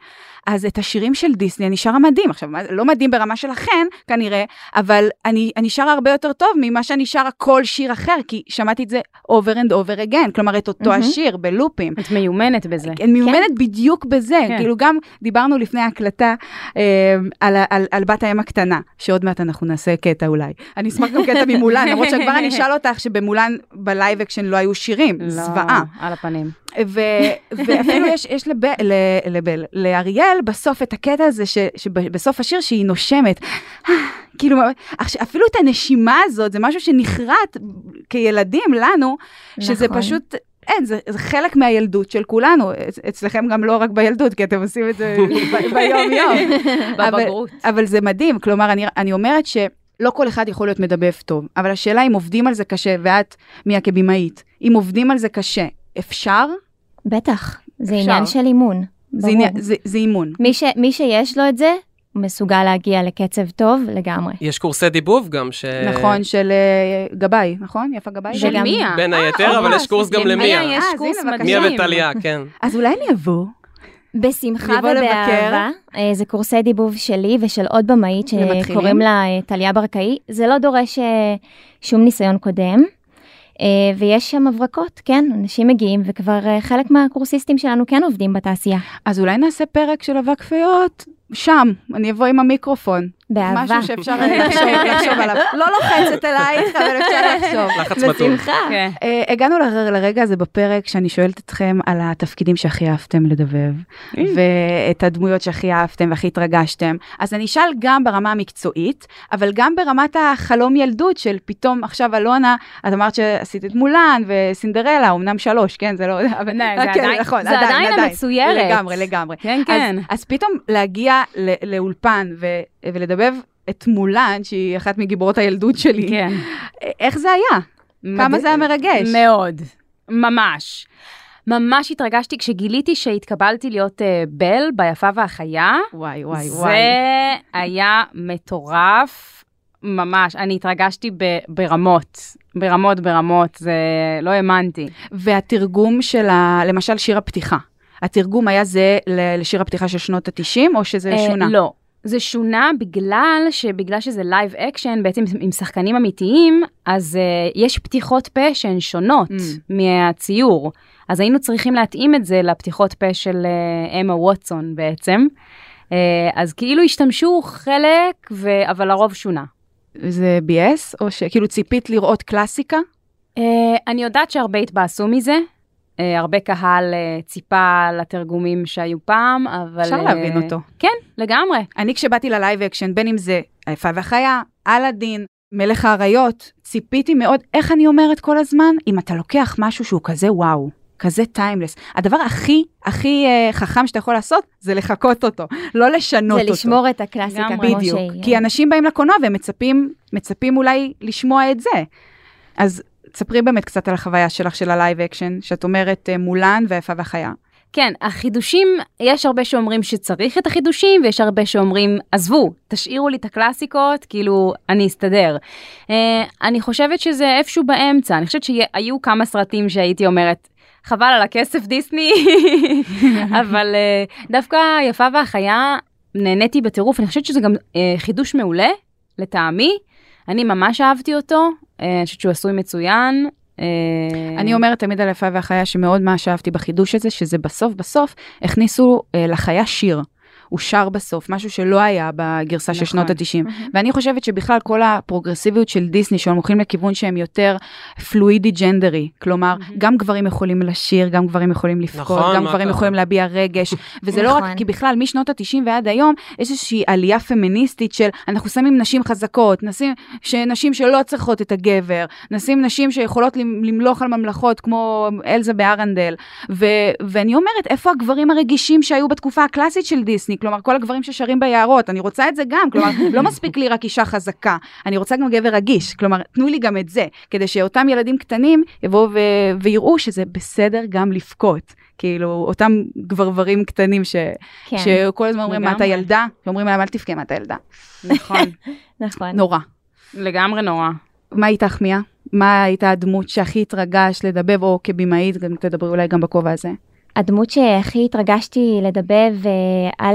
Speaker 2: אז את השירים של דיסני אני שרה מדהים, עכשיו מה- לא מדהים ברמה של החן כנראה, אבל אני, אני שרה הרבה יותר טוב ממה שאני שרה כל שיר אחר, כי שמעתי את זה over and over again, כלומר את אותו
Speaker 3: מהמם.
Speaker 2: השיר בלופים.
Speaker 5: את מיומנת בזה.
Speaker 2: אני מיומנת בדיוק בזה,
Speaker 5: כן.
Speaker 2: כאילו גם דיברנו לפני ההקלטה אה, על, ה- על, על בת הים הקטנה, שעוד מעט אנחנו נעשה קטע אולי. אני אשמח גם קטע ממולן, למרות שכבר אני אשאל אותך שבמולן בלייב אקשן לא היו שירים,
Speaker 5: לא,
Speaker 2: זוועה.
Speaker 5: על הפנים.
Speaker 2: ו- ואפילו יש, יש לב, ל, לבל, לאריאל בסוף את הקטע הזה ש, שבסוף השיר שהיא נושמת. כאילו, עכשיו, אפילו את הנשימה הזאת, זה משהו שנחרט כילדים לנו, שזה
Speaker 3: נכון.
Speaker 2: פשוט, אין, זה, זה חלק מהילדות של כולנו. אצ- אצלכם גם לא רק בילדות, כי אתם עושים את זה ב- ביום-יום. אבל-
Speaker 5: בבגרות.
Speaker 2: אבל זה מדהים, כלומר, אני, אני אומרת ש... לא כל אחד יכול להיות מדבב טוב, אבל השאלה אם עובדים על זה קשה, ואת, מיה כבימאית, אם עובדים על זה קשה, אפשר?
Speaker 3: בטח, זה
Speaker 2: אפשר.
Speaker 3: עניין של אימון.
Speaker 2: זה,
Speaker 3: ברור.
Speaker 2: עניין- זה, זה אימון.
Speaker 3: מי, ש, מי שיש לו את זה, הוא מסוגל להגיע לקצב טוב לגמרי.
Speaker 4: יש קורסי דיבוב גם, ש...
Speaker 2: נכון, של אה, גבאי, נכון? יפה גבאי?
Speaker 3: של
Speaker 5: של
Speaker 3: גם-
Speaker 5: מיה.
Speaker 4: בין היתר,
Speaker 2: אה,
Speaker 4: אבל יש קורס גם
Speaker 2: למיה.
Speaker 4: למיה.
Speaker 5: למיה יש
Speaker 2: אה, אז
Speaker 5: קורס
Speaker 2: הנה,
Speaker 5: מדהים.
Speaker 4: מיה וטליה, כן.
Speaker 2: אז אולי אני אבוא.
Speaker 3: בשמחה
Speaker 2: לבוא
Speaker 3: ובאהבה. אה, זה קורסי דיבוב שלי ושל עוד במאית
Speaker 2: למתחילים?
Speaker 3: שקוראים לה אה, טליה ברקאי. זה לא דורש אה, שום ניסיון קודם. אה, ויש שם הברקות, כן, אנשים מגיעים וכבר אה, חלק מהקורסיסטים שלנו כן עובדים בתעשייה.
Speaker 2: אז אולי נעשה פרק של אבק פיות, שם, אני אבוא עם המיקרופון.
Speaker 3: באהבה.
Speaker 2: משהו שאפשר לחשוב, לחשוב עליו. לא לוחצת אלייך, אבל אפשר לחשוב.
Speaker 4: לחץ מתון.
Speaker 5: כן.
Speaker 2: אה, הגענו ל- לרגע הזה בפרק שאני שואלת אתכם על התפקידים שהכי אהבתם לדבב,
Speaker 5: אה.
Speaker 2: ואת הדמויות שהכי אהבתם והכי התרגשתם. אז אני אשאל גם ברמה המקצועית, אבל גם ברמת החלום ילדות של פתאום עכשיו אלונה, את אמרת שעשית את מולן וסינדרלה, אמנם שלוש, כן? זה לא... אבל-
Speaker 5: זה
Speaker 2: אה, כן,
Speaker 5: עדיין-
Speaker 2: נכון,
Speaker 5: זה עדיין המצוירת.
Speaker 2: לגמרי, לגמרי.
Speaker 5: כן,
Speaker 2: אז-
Speaker 5: כן.
Speaker 2: אז פתאום להגיע ל- לאולפן ו- ולדבב את מולן, שהיא אחת מגיבורות הילדות שלי,
Speaker 5: כן.
Speaker 2: איך זה היה? כמה זה היה מרגש?
Speaker 5: מאוד, ממש. ממש התרגשתי כשגיליתי שהתקבלתי להיות אה, בל ביפה והחיה.
Speaker 2: וואי, וואי,
Speaker 5: זה
Speaker 2: וואי.
Speaker 5: היה מטורף, ממש. אני התרגשתי ב- ברמות, ברמות, ברמות, זה... לא האמנתי.
Speaker 2: והתרגום של ה... למשל שיר הפתיחה. התרגום היה זה ל- לשיר הפתיחה של שנות ה-90, או שזה
Speaker 5: אה,
Speaker 2: שונה?
Speaker 5: לא. זה שונה בגלל שבגלל שזה לייב אקשן בעצם עם שחקנים אמיתיים אז uh, יש פתיחות פה שהן שונות
Speaker 2: Mm.
Speaker 5: מהציור אז היינו צריכים להתאים את זה לפתיחות פה של אה, אמה ווטסון בעצם. אה, אז כאילו השתמשו חלק ו... אבל הרוב שונה.
Speaker 2: זה ביאס, או שכאילו ציפית לראות קלאסיקה?
Speaker 5: אה, אני יודעת שהרבה התבאסו מזה. אה, הרבה קהל אה, ציפה לתרגומים שהיו פעם אבל
Speaker 2: אפשר
Speaker 5: אה,
Speaker 2: להבין אותו.
Speaker 5: לגמרי.
Speaker 2: אני כשבאתי ללייב אקשן, בין אם זה היפה והחיה, אלאדין, מלך האריות, ציפיתי מאוד, איך אני אומרת כל הזמן, אם אתה לוקח משהו שהוא כזה וואו. כזה טיימלס. הדבר הכי, הכי אה, חכם שאתה יכול לעשות, זה לחקות אותו, לא לשנות
Speaker 3: זה
Speaker 2: אותו.
Speaker 3: לשמור את הקלאסיקה כמו שהיא. אה.
Speaker 5: לגמרי.
Speaker 2: בדיוק. כי אנשים באים לקולנוע והם מצפים, מצפים אולי לשמוע את זה. אז תספרי באמת קצת על החוויה שלך של הלייב אקשן, שאת אומרת אה, מולן והיפה והחיה.
Speaker 5: כן, החידושים, יש הרבה שאומרים שצריך את החידושים, ויש הרבה שאומרים, עזבו, תשאירו לי את הקלאסיקות, כאילו, אני אסתדר. Uh, אני חושבת שזה איפשהו באמצע, אני חושבת שהיו כמה סרטים שהייתי אומרת, חבל על הכסף דיסני, אבל uh, דווקא יפה והחיה, נהניתי בטירוף, אני חושבת שזה גם uh, חידוש מעולה, לטעמי. אני ממש אהבתי אותו, אה, אני חושבת שהוא עשוי מצוין. אה,
Speaker 2: אני אומרת תמיד על היפה והחיה שמאוד מה שאהבתי בחידוש הזה, שזה בסוף בסוף הכניסו אה, לחיה שיר. הוא שר בסוף, משהו שלא היה בגרסה של
Speaker 5: נכון.
Speaker 2: שנות ה-90. ואני חושבת שבכלל כל הפרוגרסיביות של דיסני, שהם הולכים לכיוון שהם יותר פלואידי ג'נדרי. כלומר,
Speaker 5: מהמם.
Speaker 2: גם גברים יכולים לשיר, גם גברים יכולים לבכות,
Speaker 4: נכון,
Speaker 2: גם
Speaker 4: מה
Speaker 2: גברים
Speaker 4: קרה?
Speaker 2: יכולים להביע רגש. וזה לא רק,
Speaker 3: נכון.
Speaker 2: כי בכלל, משנות ה-90 ועד היום, יש איזושהי עלייה פמיניסטית של אנחנו שמים נשים חזקות, נשים, נשים שלא צריכות את הגבר, נשים נשים שיכולות למ- למלוך על ממלכות כמו אלזה בארנדל. ו, ואני אומרת, איפה הגברים הרגישים שהיו בתקופה הקלאסית של דיסני? כלומר, כל הגברים ששרים ביערות, אני רוצה את זה גם, כלומר, לא מספיק לי רק אישה חזקה, אני רוצה גם גבר רגיש, כלומר, תנו לי גם את זה, כדי שאותם ילדים קטנים יבואו ו- ויראו שזה בסדר גם לבכות. כאילו, אותם גברברים קטנים ש...
Speaker 3: כן,
Speaker 2: שכל הזמן אומרים, מה אתה
Speaker 5: לגמרי.
Speaker 2: ילדה? שאומרים להם, אל תבכה, מה אתה ילדה?
Speaker 5: נכון,
Speaker 3: נכון.
Speaker 2: נורא.
Speaker 5: לגמרי נורא.
Speaker 2: מה איתך, מיה? מה הייתה הדמות שהכי התרגשת לדבב, או כבימאית, גם תדברי אולי גם בכובע הזה?
Speaker 3: הדמות שהכי התרגשתי לדבב, אה, א', אה,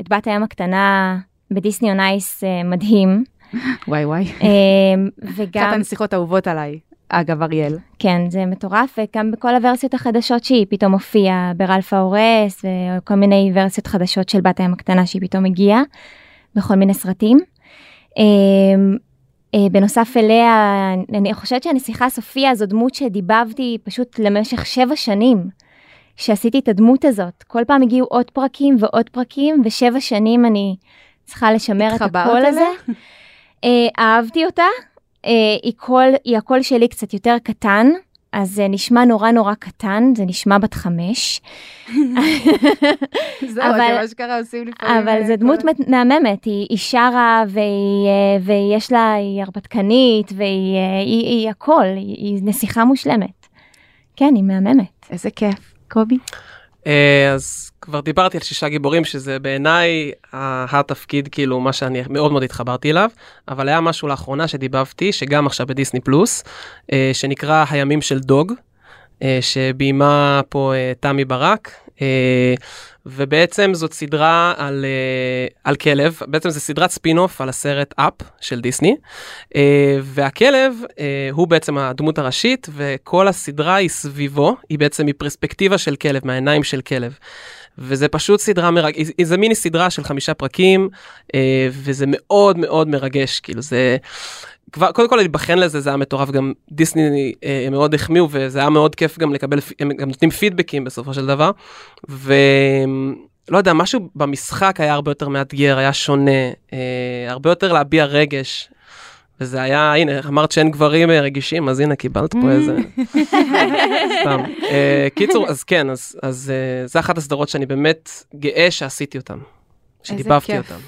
Speaker 3: את בת הים הקטנה בדיסני און אייס אה, מדהים,
Speaker 2: וואי וואי.
Speaker 3: אה,
Speaker 2: אחת
Speaker 3: וגם,
Speaker 2: הנסיכות האהובות עליי, אגב, אריאל.
Speaker 3: כן, זה מטורף, וגם בכל הוורסיות החדשות שהיא פתאום הופיעה, ברלף ההורס, וכל מיני ורסיות חדשות של בת הים הקטנה שהיא פתאום הגיעה, בכל מיני סרטים. אה, אה, בנוסף אליה, אני חושבת שהנסיכה סופיה זו דמות שדיבבתי פשוט למשך שבע שנים. שעשיתי את הדמות הזאת. כל פעם הגיעו עוד פרקים ועוד פרקים, ושבע שנים אני צריכה לשמר את
Speaker 2: התחברת
Speaker 3: הקול
Speaker 2: אליה?
Speaker 3: הזה. אה, אהבתי אותה, אה, היא, קול, היא הקול שלי קצת יותר קטן, אז זה נשמע נורא נורא קטן, זה נשמע בת חמש,
Speaker 2: זהו,
Speaker 3: אבל-
Speaker 2: אתם אשכרה עושים לפעמים...
Speaker 3: אבל
Speaker 2: אה,
Speaker 3: זו דמות
Speaker 2: כל-
Speaker 3: מת- מהממת, היא, היא שרה והיא, אה, ויש לה, היא הרפתקנית, והיא אה, היא, היא הכל, היא, היא נסיכה מושלמת. כן, היא מהממת.
Speaker 2: איזה כיף. קובי?
Speaker 4: אה, אז כבר דיברתי על שישה גיבורים, שזה בעיניי ה- התפקיד, כאילו, מה שאני מאוד מאוד התחברתי אליו, אבל היה משהו לאחרונה שדיבבתי, שגם עכשיו בדיסני פלוס, אה, שנקרא הימים של דוג, אה, שביימה פה אה, תמי ברק. אה, ובעצם זאת סדרה על, אה, על כלב, בעצם זו סדרת ספינוף על הסרט אפ של דיסני, אה, והכלב אה, הוא בעצם הדמות הראשית, וכל הסדרה היא סביבו, היא בעצם מפרספקטיבה של כלב, מהעיניים של כלב. וזה פשוט סדרה מרגשת, זה מיני סדרה של חמישה פרקים, אה, וזה מאוד מאוד מרגש, כאילו זה... כבר, קודם כל להיבחן לזה זה היה מטורף, גם דיסני אה, הם מאוד החמיאו וזה היה מאוד כיף גם לקבל, פ- הם גם נותנים פידבקים בסופו של דבר. ולא יודע, משהו במשחק היה הרבה יותר מאתגר, היה שונה, אה, הרבה יותר להביע רגש. וזה היה, הנה, אמרת שאין גברים אה, רגישים, אז הנה, קיבלת פה איזה... סתם. אה, קיצור, אז כן, אז- אז אה, זה אחת הסדרות שאני באמת גאה שעשיתי אותן. שדיבבתי
Speaker 2: כיף.
Speaker 4: אותן.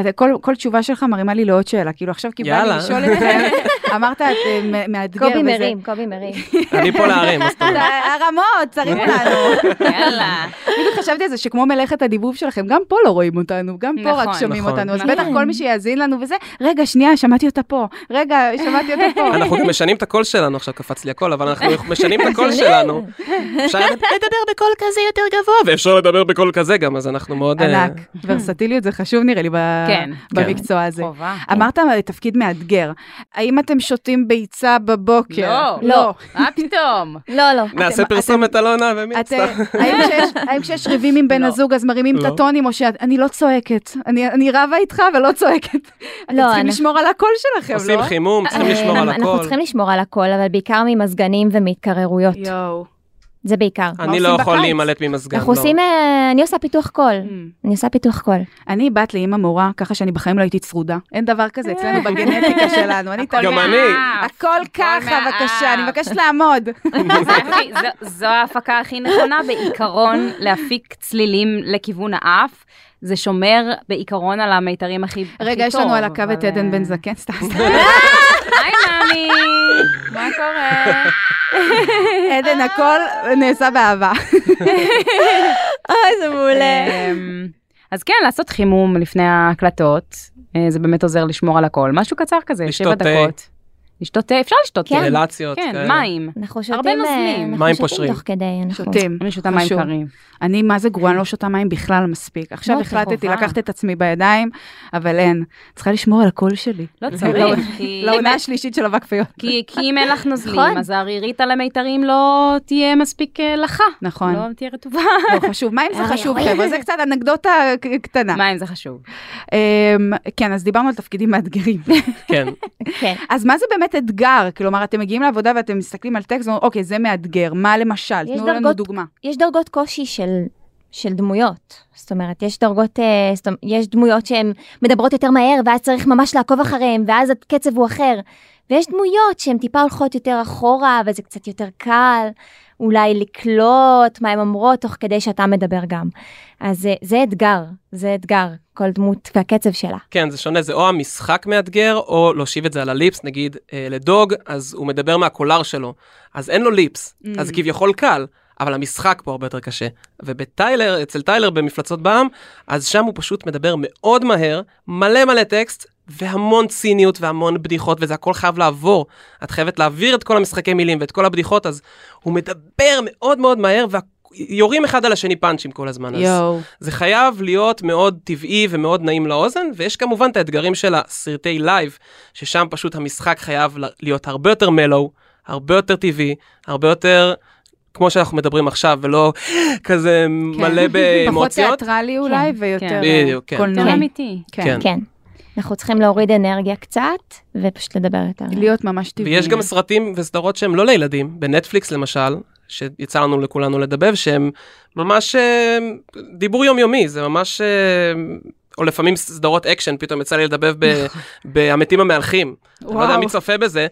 Speaker 2: אתה, כל, כל תשובה שלך מרימה לי לעוד שאלה, כאילו עכשיו קיבלתי
Speaker 4: יאללה.
Speaker 2: לשאול את זה, אמרת, את, אה, מ- מאתגר
Speaker 3: קובי
Speaker 2: וזה.
Speaker 3: מרים, קובי מרים.
Speaker 4: אני פה להרים, אז תודה.
Speaker 2: הרמות, צריך לנו.
Speaker 5: יאללה.
Speaker 2: בדיוק חשבתי על זה שכמו מלאכת הדיבוב שלכם, גם פה לא רואים אותנו, גם פה רק
Speaker 5: נכון,
Speaker 2: שומעים
Speaker 4: נכון.
Speaker 2: אותנו, אז
Speaker 5: נכון.
Speaker 2: בטח כל מי שיאזין לנו וזה, רגע, שנייה, שמעתי אותה פה, רגע, שמעתי אותה פה.
Speaker 4: אנחנו גם משנים את הקול שלנו, עכשיו קפץ לי הקול, אבל אנחנו משנים את הקול שלנו. אפשר לדבר בקול כזה יותר גבוה, ואפשר לדבר בקול כזה גם, אז אנחנו מאוד... אה,
Speaker 2: ענק, ורסטיליות זה חשוב נראה לי ב-
Speaker 5: כן.
Speaker 2: במקצוע הזה.
Speaker 5: חובה.
Speaker 4: כן.
Speaker 2: אמרת אה, תפקיד מאתגר, האם אתם שותים ביצה בבוקר?
Speaker 5: לא,
Speaker 3: לא.
Speaker 5: מה פתאום?
Speaker 3: לא, לא.
Speaker 4: נעשה פרסומת אלונה ומי
Speaker 2: אתם- האם כשיש- האם כשיש ריבים עם בן
Speaker 5: לא.
Speaker 2: הזוג אז מרימים את
Speaker 4: לא.
Speaker 2: הטונים או שאני לא צועקת, אני אני רבה איתך ולא צועקת. אתם
Speaker 3: לא,
Speaker 2: צריכים
Speaker 3: אנחנו-
Speaker 2: לשמור על הקול שלכם, לא?
Speaker 4: עושים חימום, צריכים
Speaker 3: אה,
Speaker 4: לשמור על
Speaker 3: אנחנו
Speaker 4: הכל.
Speaker 3: צריכים לשמור על הכל, אבל בעיקר ממזגנים ומהתקררויות.
Speaker 2: יואו.
Speaker 3: זה בעיקר.
Speaker 2: מה
Speaker 4: אני לא
Speaker 2: עושים
Speaker 4: יכול
Speaker 2: בקיץ?
Speaker 4: להימלט ממזגן.
Speaker 3: אנחנו
Speaker 4: לא.
Speaker 3: עושים, אה, אני עושה פיתוח קול. אני עושה פיתוח קול.
Speaker 2: אני בת לאימא מורה, ככה שאני בחיים לא הייתי צרודה. אין דבר כזה אצלנו בגנטיקה שלנו. אני
Speaker 5: הכל
Speaker 4: גם
Speaker 2: תמיד-
Speaker 4: אני.
Speaker 5: מהאף.
Speaker 2: הכל ככה,
Speaker 5: מהאף.
Speaker 2: בבקשה, אני מבקשת לעמוד.
Speaker 5: זה הכי- זו- זו ההפקה הכי נכונה בעיקרון להפיק צלילים לכיוון האף. זה שומר בעיקרון על המיתרים הכי הכי טוב.
Speaker 2: רגע, יש לנו על הקו את
Speaker 5: אבל,
Speaker 2: עדן
Speaker 5: אה,
Speaker 2: בן זקן, סתם.
Speaker 5: היי מאמי, מה קורה?
Speaker 2: עדן, הכל נעשה באהבה.
Speaker 3: אוי, זה
Speaker 5: אמ, אז כן, לעשות חימום לפני ההקלטות, אה, זה באמת עוזר לשמור על הכל. משהו קצר כזה, שבע
Speaker 4: לשתות תה.
Speaker 5: דקות. לשתות תה, אפשר לשתות תה.
Speaker 3: כן.
Speaker 4: רלציות
Speaker 5: כן,
Speaker 4: כאלה.
Speaker 5: מים.
Speaker 3: אנחנו שותים,
Speaker 5: הרבה
Speaker 3: אה,
Speaker 5: נוזלים.
Speaker 3: אנחנו
Speaker 4: מים
Speaker 3: שותים
Speaker 4: פושרים.
Speaker 3: תוך כדי, אנחנו...
Speaker 2: שותים.
Speaker 5: אני שותה מים
Speaker 2: חשוב.
Speaker 5: קרים.
Speaker 2: אני, מה זה גרועה, אני לא שותה מים בכלל מספיק. עכשיו
Speaker 5: לא,
Speaker 2: החלטתי
Speaker 5: חובה.
Speaker 2: לקחת את עצמי בידיים, אבל אין. צריכה לשמור על הקול שלי.
Speaker 5: לא
Speaker 2: לא-
Speaker 5: צריך, כי-
Speaker 2: לעונה השלישית של אבק פיות.
Speaker 5: כי כי אם אין לך נוזלים,
Speaker 3: נכון.
Speaker 5: אז הערירית על המיתרים לא תהיה מספיק אה, לחה.
Speaker 2: נכון.
Speaker 5: לא תהיה רטובה.
Speaker 2: לא חשוב. מים זה
Speaker 5: אה,
Speaker 3: אוי,
Speaker 2: חשוב,
Speaker 3: אוי.
Speaker 2: חבר'ה, זה קצת אנקדוטה ק- קטנה.
Speaker 5: מים זה חשוב.
Speaker 2: אמ, כן, אז דיברנו על תפקידים מאתגרים.
Speaker 4: כן.
Speaker 3: כן.
Speaker 2: אז מה זה באמת אתגר? כלומר, אתם מגיעים לעבודה ואתם מסתכלים על טקסט ואומרים, אוקיי, זה מאתגר, מה למשל?
Speaker 3: יש
Speaker 2: תנו לנו
Speaker 3: דרגות-
Speaker 2: דוגמה.
Speaker 3: יש דרגות קושי של, של דמויות. זאת אומרת, יש דרגות, אה, זאת, אומרת, יש דמויות שהן מדברות יותר מהר, ואז צריך ממש לעקוב אחריהן, ואז הקצב הוא אחר. ויש דמויות שהן טיפה הולכות יותר אחורה, וזה קצת יותר קל, אולי לקלוט מה הן אומרות, תוך כדי שאתה מדבר גם. אז אה, זה אתגר, זה אתגר, כל דמות והקצב שלה.
Speaker 4: כן, זה שונה, זה או המשחק מאתגר, או להושיב את זה על הליפס, נגיד אה, לדוג, אז הוא מדבר מהקולר שלו, אז אין לו ליפס, אז זה כביכול קל, אבל המשחק פה הרבה יותר קשה. ובטיילר, אצל טיילר במפלצות בעם, אז שם הוא פשוט מדבר מאוד מהר, מלא מלא טקסט, והמון ציניות והמון בדיחות, וזה הכל חייב לעבור. את חייבת להעביר את כל המשחקי מילים ואת כל הבדיחות, אז הוא מדבר מאוד מאוד מהר, ויורים אחד על השני פאנצ'ים כל הזמן. אז- זה חייב להיות מאוד טבעי ומאוד נעים לאוזן, ויש כמובן את האתגרים של הסרטי לייב, ששם פשוט המשחק חייב ל- להיות הרבה יותר מלו, הרבה יותר טבעי, הרבה יותר כמו שאנחנו מדברים עכשיו, ולא כזה מלא
Speaker 2: פחות
Speaker 4: באמוציות.
Speaker 2: תיאטרלי אולי,
Speaker 3: כן,
Speaker 2: ויותר
Speaker 5: כן.
Speaker 4: בדיוק, כן.
Speaker 5: יותר
Speaker 2: קולנועי.
Speaker 3: כן.
Speaker 5: אמיתי.
Speaker 2: כן.
Speaker 3: כן. אנחנו צריכים להוריד אנרגיה קצת, ופשוט לדבר יותר.
Speaker 2: להיות ממש טבעי.
Speaker 4: ויש גם סרטים וסדרות שהם לא לילדים, בנטפליקס למשל, שיצא לנו לכולנו לדבב, שהם ממש אה, דיבור יומיומי, זה ממש... אה, או לפעמים סדרות אקשן, פתאום יצא לי לדבב ב- בהמתים המהלכים. אני לא יודע
Speaker 2: נכון. וואו.
Speaker 4: מי צופה בזה,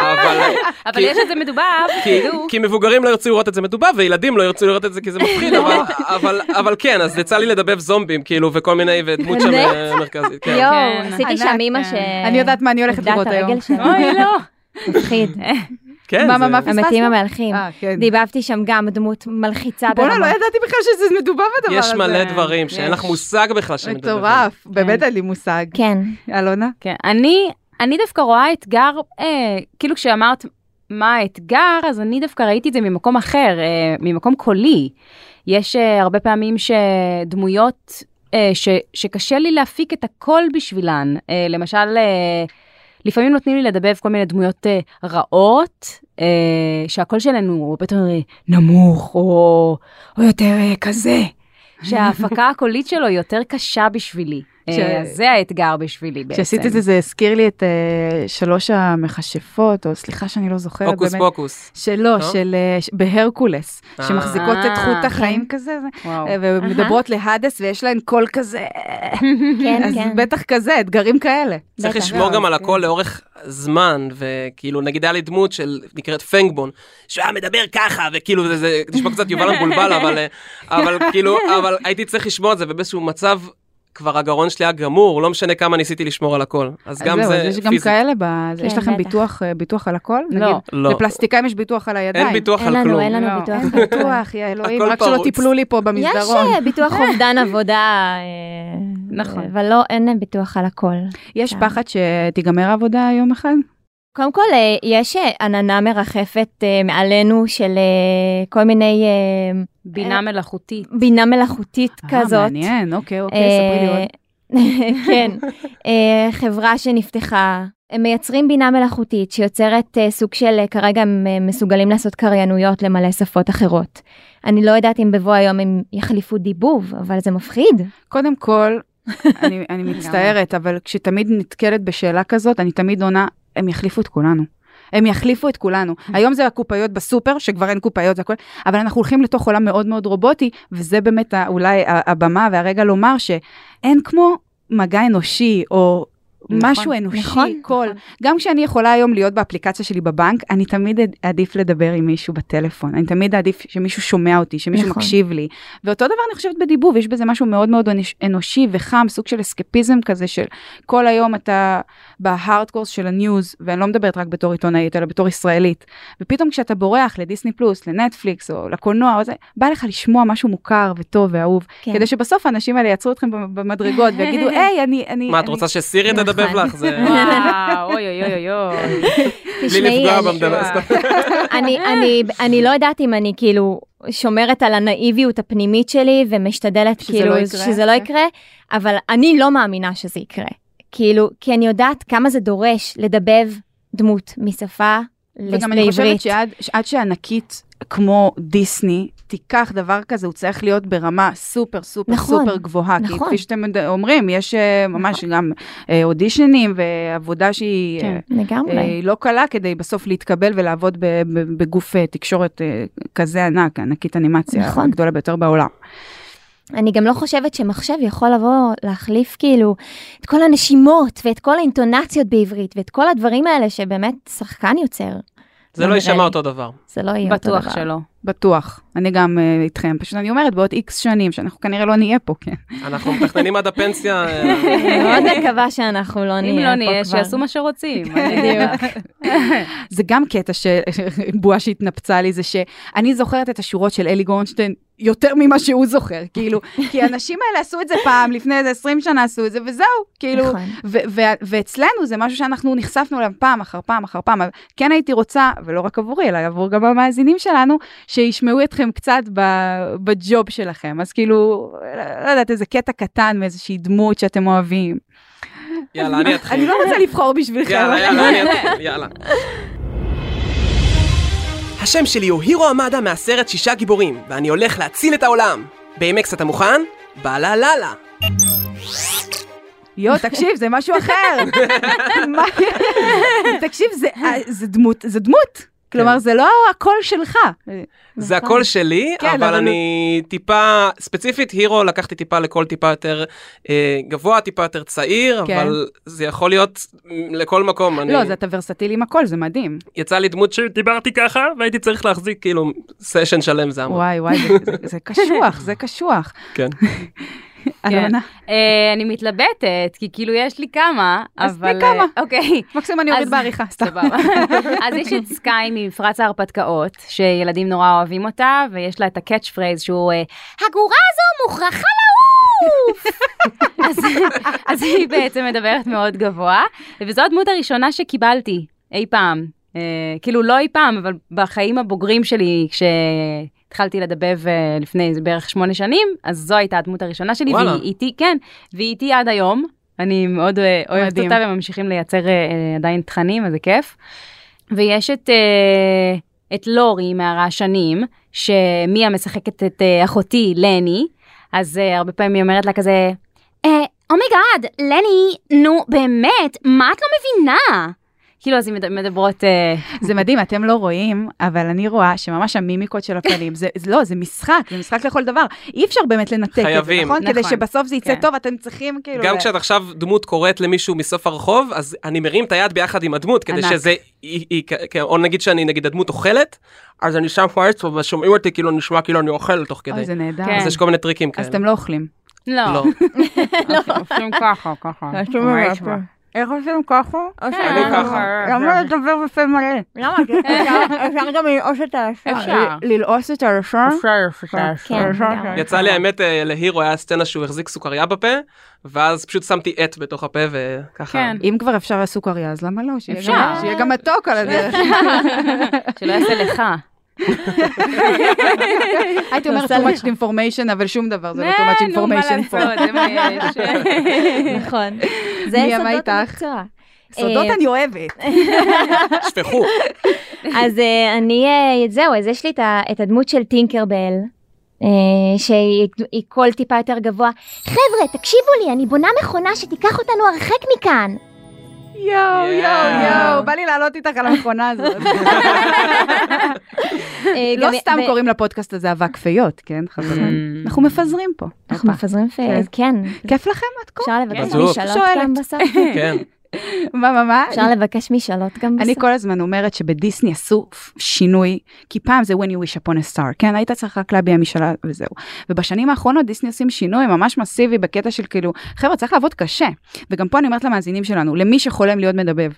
Speaker 4: אבל
Speaker 5: אבל
Speaker 4: כי-
Speaker 5: יש את זה מדובב, כאילו.
Speaker 4: כי,
Speaker 2: כאילו.
Speaker 5: תדעו.
Speaker 4: כי מבוגרים לא ירצו לראות את זה מדובב, וילדים לא ירצו לראות את זה כי זה מפחיד,
Speaker 2: נכון.
Speaker 4: אבל, אבל, אבל כן, אז יצא לי לדבב זומבים, כאילו, וכל מיני, ודמות שם
Speaker 3: באמת?
Speaker 4: אה, מרכזית. כן.
Speaker 5: כן.
Speaker 3: יואו, עשיתי שם
Speaker 2: ענק,
Speaker 3: אימא
Speaker 5: כן.
Speaker 3: ש...
Speaker 2: אני יודעת מה אני הולכת
Speaker 3: איבדה את
Speaker 2: לראות היום.
Speaker 3: אה, הרגל שלה.
Speaker 5: אוי, לא.
Speaker 3: מפחיד.
Speaker 4: כן,
Speaker 2: מה, מה,
Speaker 4: זה-
Speaker 2: מה, פספסנו?
Speaker 3: המתים המהלכים.
Speaker 2: אה, כן.
Speaker 3: דיבבתי שם גם דמות מלחיצה.
Speaker 2: בואנה, לא
Speaker 3: ברמה.
Speaker 2: ידעתי בכלל שזה מדובר בדבר
Speaker 4: יש
Speaker 2: הזה.
Speaker 4: מלא דברים שאין
Speaker 5: יש.
Speaker 4: לך מושג בכלל שמדברים.
Speaker 2: מטורף, באמת אין לי מושג.
Speaker 3: כן.
Speaker 2: אלונה?
Speaker 5: כן, אני, אני דווקא רואה אתגר, אה, כאילו כשאמרת מה האתגר, אז אני דווקא ראיתי את זה ממקום אחר, אה, ממקום קולי. יש אה, הרבה פעמים שדמויות אה, ש, שקשה לי להפיק את הכל בשבילן. אה, למשל, אה, לפעמים נותנים לי לדבב כל מיני דמויות אה, רעות, אה, שהקול שלנו הוא הרבה יותר אה, נמוך, או, או יותר אה, כזה. שההפקה הקולית שלו היא יותר קשה בשבילי.
Speaker 2: ש-
Speaker 5: אה, אז זה האתגר בשבילי בעצם.
Speaker 2: כשעשית את זה, זה הזכיר לי את אה, שלוש המכשפות, או סליחה שאני לא זוכרת.
Speaker 4: הוקוס
Speaker 2: באמת.
Speaker 4: פוקוס.
Speaker 2: שלא,
Speaker 4: לא?
Speaker 2: של אה, ש- בהרקולס,
Speaker 4: אה.
Speaker 2: שמחזיקות את
Speaker 5: אה,
Speaker 2: חוט החיים
Speaker 3: כן.
Speaker 2: כזה, זה-
Speaker 5: וואו.
Speaker 2: אה, ומדברות להאדס ויש להן קול כזה,
Speaker 3: כן,
Speaker 2: אז
Speaker 3: כן.
Speaker 2: בטח כזה, אתגרים כאלה.
Speaker 4: צריך
Speaker 3: בטח.
Speaker 4: לשמור
Speaker 2: כן,
Speaker 4: גם על הכל לאורך זמן, וכאילו, נגיד היה לי דמות של, נקראת פנגבון, שהיה מדבר ככה, וכאילו, זה- זה נשמע קצת יובל המבולבל, אבל, אה, אבל כאילו, אבל הייתי צריך לשמוע את זה, ובאיזשהו מצב כבר הגרון שלי היה גמור, לא משנה כמה ניסיתי לשמור על הכל. אז גם
Speaker 2: זהו,
Speaker 4: זה
Speaker 2: אז יש גם
Speaker 4: פיזית.
Speaker 2: כאלה, ב-
Speaker 3: כן,
Speaker 2: יש לכם
Speaker 3: בטח.
Speaker 2: ביטוח, אה, ביטוח על הכל?
Speaker 5: לא,
Speaker 2: נגיד,
Speaker 4: לא.
Speaker 2: לפלסטיקאים יש ביטוח על הידיים.
Speaker 4: אין ביטוח
Speaker 3: אין
Speaker 4: על
Speaker 3: לנו,
Speaker 4: כלום.
Speaker 3: אין לנו
Speaker 2: לא,
Speaker 3: ביטוח.
Speaker 2: אין ביטוח, יא אלוהים,
Speaker 4: הכל
Speaker 2: רק שלא
Speaker 4: פרוץ.
Speaker 2: תיפלו לי פה
Speaker 3: יש
Speaker 2: במסדרון.
Speaker 3: אה, ביטוח אובדן עבודה, אה,
Speaker 5: נכון.
Speaker 3: אבל לא, אין ביטוח על הכל.
Speaker 2: יש
Speaker 3: אה.
Speaker 2: פחד שתיגמר העבודה יום אחד?
Speaker 3: קודם כל, אה, יש אה, עננה מרחפת אה, מעלינו של אה, כל מיני אה,
Speaker 5: בינה מלאכותית.
Speaker 3: בינה מלאכותית כזאת.
Speaker 2: אה, מעניין, אוקיי, אוקיי, ספרי לי עוד.
Speaker 3: אה, כן, אה, חברה שנפתחה, הם מייצרים בינה מלאכותית שיוצרת אה, סוג של, אה, כרגע הם אה, מסוגלים לעשות קריינויות למלא שפות אחרות. אני לא יודעת אם בבוא היום הם יחליפו דיבוב, אבל זה מפחיד.
Speaker 2: קודם כל, אני, אני מצטערת, אבל כשתמיד נתקלת בשאלה כזאת, אני תמיד עונה, הם יחליפו את כולנו. הם יחליפו את כולנו. היום זה הקופאיות בסופר, שכבר אין קופאיות והכל, אבל אנחנו הולכים לתוך עולם מאוד מאוד רובוטי, וזה באמת ה- אולי ה- הבמה והרגע לומר שאין כמו מגע אנושי, או...
Speaker 5: נכון,
Speaker 2: משהו אנושי,
Speaker 3: נכון,
Speaker 2: קול.
Speaker 3: נכון.
Speaker 2: גם כשאני יכולה היום להיות באפליקציה שלי בבנק, אני תמיד אד- אעדיף לדבר עם מישהו בטלפון. אני תמיד אעדיף שמישהו שומע אותי, שמישהו
Speaker 3: נכון.
Speaker 2: מקשיב לי. ואותו דבר אני חושבת בדיבוב, יש בזה משהו מאוד מאוד אנוש- אנושי וחם, סוג של אסקפיזם כזה של כל היום אתה בהארדקורס של הניוז, ואני לא מדברת רק בתור עיתונאית, אלא בתור ישראלית. ופתאום כשאתה בורח לדיסני פלוס, לנטפליקס או לקולנוע, או זה, בא לך לשמוע משהו מוכר וטוב ואהוב,
Speaker 3: כן.
Speaker 2: כדי שבסוף האנשים האלה יעצרו אתכם במדרגות ויגידו, היי, אני... אני-
Speaker 4: מה, את
Speaker 2: אני-
Speaker 4: רוצה שסירי תדבב
Speaker 3: נכון.
Speaker 4: לך? זה...
Speaker 5: וואו, אוי אוי אוי אוי.
Speaker 4: בלי
Speaker 3: תשמעי,
Speaker 4: לפגוע
Speaker 3: אני-
Speaker 4: במדבר.
Speaker 3: אני, אני, אני לא יודעת אם אני כאילו שומרת על הנאיביות הפנימית שלי ומשתדלת
Speaker 2: שזה
Speaker 3: כאילו
Speaker 2: לא יקרה,
Speaker 3: שזה לא
Speaker 2: כן.
Speaker 3: יקרה, אבל אני לא מאמינה שזה יקרה. כאילו, כי אני יודעת כמה זה דורש לדבב דמות משפה ל-
Speaker 2: וגם אני חושבת
Speaker 3: לעברית.
Speaker 2: שעד, שעד שענקית כמו דיסני תיקח דבר כזה, הוא צריך להיות ברמה סופר סופר
Speaker 3: נכון,
Speaker 2: סופר גבוהה. כי
Speaker 3: נכון.
Speaker 2: כפי שאתם מד- אומרים, יש אה, ממש גם אה, אודישנים ועבודה שהיא
Speaker 5: כן,
Speaker 2: אה,
Speaker 3: לגמרי.
Speaker 2: אה, לא קלה כדי בסוף להתקבל ולעבוד ב- ב- בגוף אה, תקשורת אה, כזה ענק, ענקית אנימציה
Speaker 3: נכון.
Speaker 2: הגדולה ביותר בעולם.
Speaker 3: אני גם לא חושבת שמחשב יכול לבוא להחליף כאילו את כל הנשימות ואת כל האינטונציות בעברית ואת כל הדברים האלה שבאמת שחקן יוצר.
Speaker 4: זה לא
Speaker 3: נראה לי.
Speaker 4: יישמע אותו דבר.
Speaker 3: זה לא יהיה אותו דבר.
Speaker 5: בטוח שלא.
Speaker 2: בטוח, אני גם אה, איתכם, פשוט אני אומרת בעוד איקס שנים, שאנחנו כנראה לא נהיה פה, כן.
Speaker 4: אנחנו מתכננים עד הפנסיה. אה,
Speaker 3: אני מאוד מקווה שאנחנו לא נהיה פה
Speaker 5: אם
Speaker 3: כבר.
Speaker 5: לא נהיה, שיעשו מה שרוצים.
Speaker 3: בדיוק.
Speaker 2: זה גם קטע של בועה שהתנפצה לי, זה שאני זוכרת את השורות של אלי גורנשטיין יותר ממה שהוא זוכר, כאילו, כי האנשים האלה עשו את זה פעם, לפני איזה 20 שנה עשו את זה, וזהו, כאילו,
Speaker 3: נכון.
Speaker 2: ו- ו- ואצלנו זה משהו שאנחנו נחשפנו אליו פעם אחר פעם אחר פעם. אבל כן הייתי רוצה, ולא רק עבורי, אלא עבור גם המאזינים שלנו, שישמעו אתכם קצת ב- בג'וב שלכם. אז כאילו, לא יודעת, איזה קטע קטן מאיזושהי דמות שאתם אוהבים.
Speaker 4: יאללה, אני אתחיל.
Speaker 2: אני לא רוצה לבחור בשבילכם.
Speaker 4: יאללה, יאללה, אני אתחיל, יאללה. השם שלי הוא הירו עמדה מהסרט שישה גיבורים, ואני הולך להציל את העולם. באמקס אתה מוכן? בלה ללה.
Speaker 2: יואו, תקשיב, זה משהו אחר. מה- תקשיב, זה- אה, זה דמות, זה דמות.
Speaker 5: כן.
Speaker 2: כלומר, זה לא הקול שלך.
Speaker 4: זה הכל שלי,
Speaker 2: נכון. כן, אבל
Speaker 4: אבל אני טיפה, ספציפית הירו לקחתי טיפה לכל טיפה יותר אה, גבוה, טיפה יותר צעיר,
Speaker 2: כן.
Speaker 4: אבל זה יכול להיות מ, לכל מקום. אני-
Speaker 2: לא, זה אתה ורסטילי עם הקול, זה מדהים.
Speaker 4: יצא לי דמות שדיברתי ככה, והייתי צריך להחזיק כאילו סשן שלם זה אמר.
Speaker 2: וואי, וואי, זה- זה- זה קשוח, זה קשוח.
Speaker 4: כן.
Speaker 2: אלונה,
Speaker 5: אה, אני מתלבטת, כי כאילו יש לי כמה, אבל...
Speaker 2: אז תני כמה.
Speaker 5: אה, אוקיי.
Speaker 2: מקסימום אני אוריד
Speaker 5: אז-
Speaker 2: בעריכה, סתם.
Speaker 5: סבבה. אז יש את סקאי ממפרץ ההרפתקאות, שילדים נורא אוהבים אותה, ויש לה את הקאץ' פרייז שהוא, אה, הגורה הזו מוכרחה לעוף! אז, אז היא בעצם מדברת מאוד גבוה, וזו הדמות הראשונה שקיבלתי אי פעם. אה, כאילו לא אי פעם, אבל בחיים הבוגרים שלי, כשהתחלתי לדבב אה, לפני איזה בערך שמונה שנים, אז זו הייתה הדמות הראשונה שלי,
Speaker 4: וואלה.
Speaker 5: והיא איתי, כן, והיא איתי עד היום. אני מאוד אה, אוהבת
Speaker 2: מדהים.
Speaker 5: אותה וממשיכים לייצר אה, אה, עדיין תכנים, אז זה כיף. ויש את, אה, את לורי מהרעשנים, שמיה משחקת את אה, אחותי, לני, אז אה, הרבה פעמים היא אומרת לה כזה, "אה, אומייגאד, לני, נו באמת, מה את לא מבינה? כאילו, אז הן מד- מדברות... אה,
Speaker 2: זה מדהים, אתם לא רואים, אבל אני רואה שממש המימיקות של הפנים, זה זה- לא, זה משחק, זה משחק לכל דבר. אי אפשר באמת לנתק את זה,
Speaker 4: חייבים.
Speaker 2: נכון? כדי
Speaker 5: נכון.
Speaker 2: שבסוף זה יצא
Speaker 5: כן.
Speaker 2: טוב, אתם צריכים כאילו...
Speaker 4: גם כשאת עכשיו דמות קוראת למישהו מסוף הרחוב, אז אני מרים את היד ביחד עם הדמות, כדי
Speaker 2: ענק.
Speaker 4: שזה, היא- היא- כ- או נגיד שאני, נגיד הדמות אוכלת, אז אני שם פוארץ ושומעים אותי כאילו נשמע כאילו אני אוכל תוך
Speaker 2: אוי,
Speaker 4: כדי.
Speaker 2: זה נהדר.
Speaker 5: כן.
Speaker 4: אז יש כל מיני טריקים כאלה.
Speaker 2: אז אתם לא אוכלים.
Speaker 5: לא.
Speaker 4: לא.
Speaker 5: עושים ככה, ככה.
Speaker 6: איך עושים ככה?
Speaker 4: אני ככה.
Speaker 2: כן.
Speaker 6: למה לדבר בפה מלא?
Speaker 7: למה? אפשר גם
Speaker 2: אה,
Speaker 7: ללעוש את הלשון.
Speaker 5: אפשר.
Speaker 6: ללעוס את הלשון?
Speaker 3: כן,
Speaker 6: הלשון,
Speaker 3: גם.
Speaker 6: כן.
Speaker 4: יצא לי האמת אה, להירו היה סצנה שהוא החזיק סוכריה בפה, ואז פשוט שמתי עט בתוך הפה וככה.
Speaker 5: כן.
Speaker 2: אם כבר אפשר לסוכריה, אז למה לא? שיהיה
Speaker 5: אפשר.
Speaker 2: גם- שיהיה גם מתוק על הדרך.
Speaker 5: שלא יעשה לך.
Speaker 2: הייתי אומרת too much information, אבל שום דבר זה לא too much
Speaker 5: נו, מה
Speaker 2: information פה.
Speaker 5: לעשות, זה מה יש.
Speaker 3: נכון. זה
Speaker 2: מי אמר
Speaker 3: סודות
Speaker 2: איתך?
Speaker 3: המקצוע.
Speaker 2: סודות
Speaker 3: אה,
Speaker 2: אני אוהבת.
Speaker 4: שפכו.
Speaker 3: אז אה, אני, אה, זהו, אז יש לי את ה- את הדמות של טינקרבל, אה, שהיא היא קול טיפה יותר גבוה. חבר'ה, תקשיבו לי, אני בונה מכונה שתיקח אותנו הרחק מכאן.
Speaker 2: יואו, יואו,
Speaker 4: יאה.
Speaker 2: יואו, בא לי לעלות איתך על המכונה הזאת.
Speaker 3: אה,
Speaker 2: לא
Speaker 3: גם-
Speaker 2: סתם
Speaker 3: ו-
Speaker 2: קוראים לפודקאסט הזה אבק פיות, כן, חברים? אנחנו מפזרים פה.
Speaker 3: אנחנו
Speaker 2: הופה.
Speaker 3: מפזרים פייס, כן.
Speaker 2: כיף לכם עד כה?
Speaker 3: אפשר לבקש
Speaker 4: בטוח.
Speaker 3: משאלות
Speaker 2: שואלת.
Speaker 3: גם בסוף?
Speaker 4: כן.
Speaker 2: מה, מה, מה?
Speaker 3: אפשר לבקש משאלות גם
Speaker 2: אני
Speaker 3: בסוף.
Speaker 2: כל הזמן אומרת שבדיסני עשו שינוי, כי פעם זה when you wish upon a star, כן? היית צריך רק להביע משאלה וזהו. ובשנים האחרונות דיסני עושים שינוי ממש מסיבי בקטע של כאילו, חבר'ה, צריך לעבוד קשה. וגם פה אני אומרת למאזינים שלנו, למי שחולם להיות מדבב,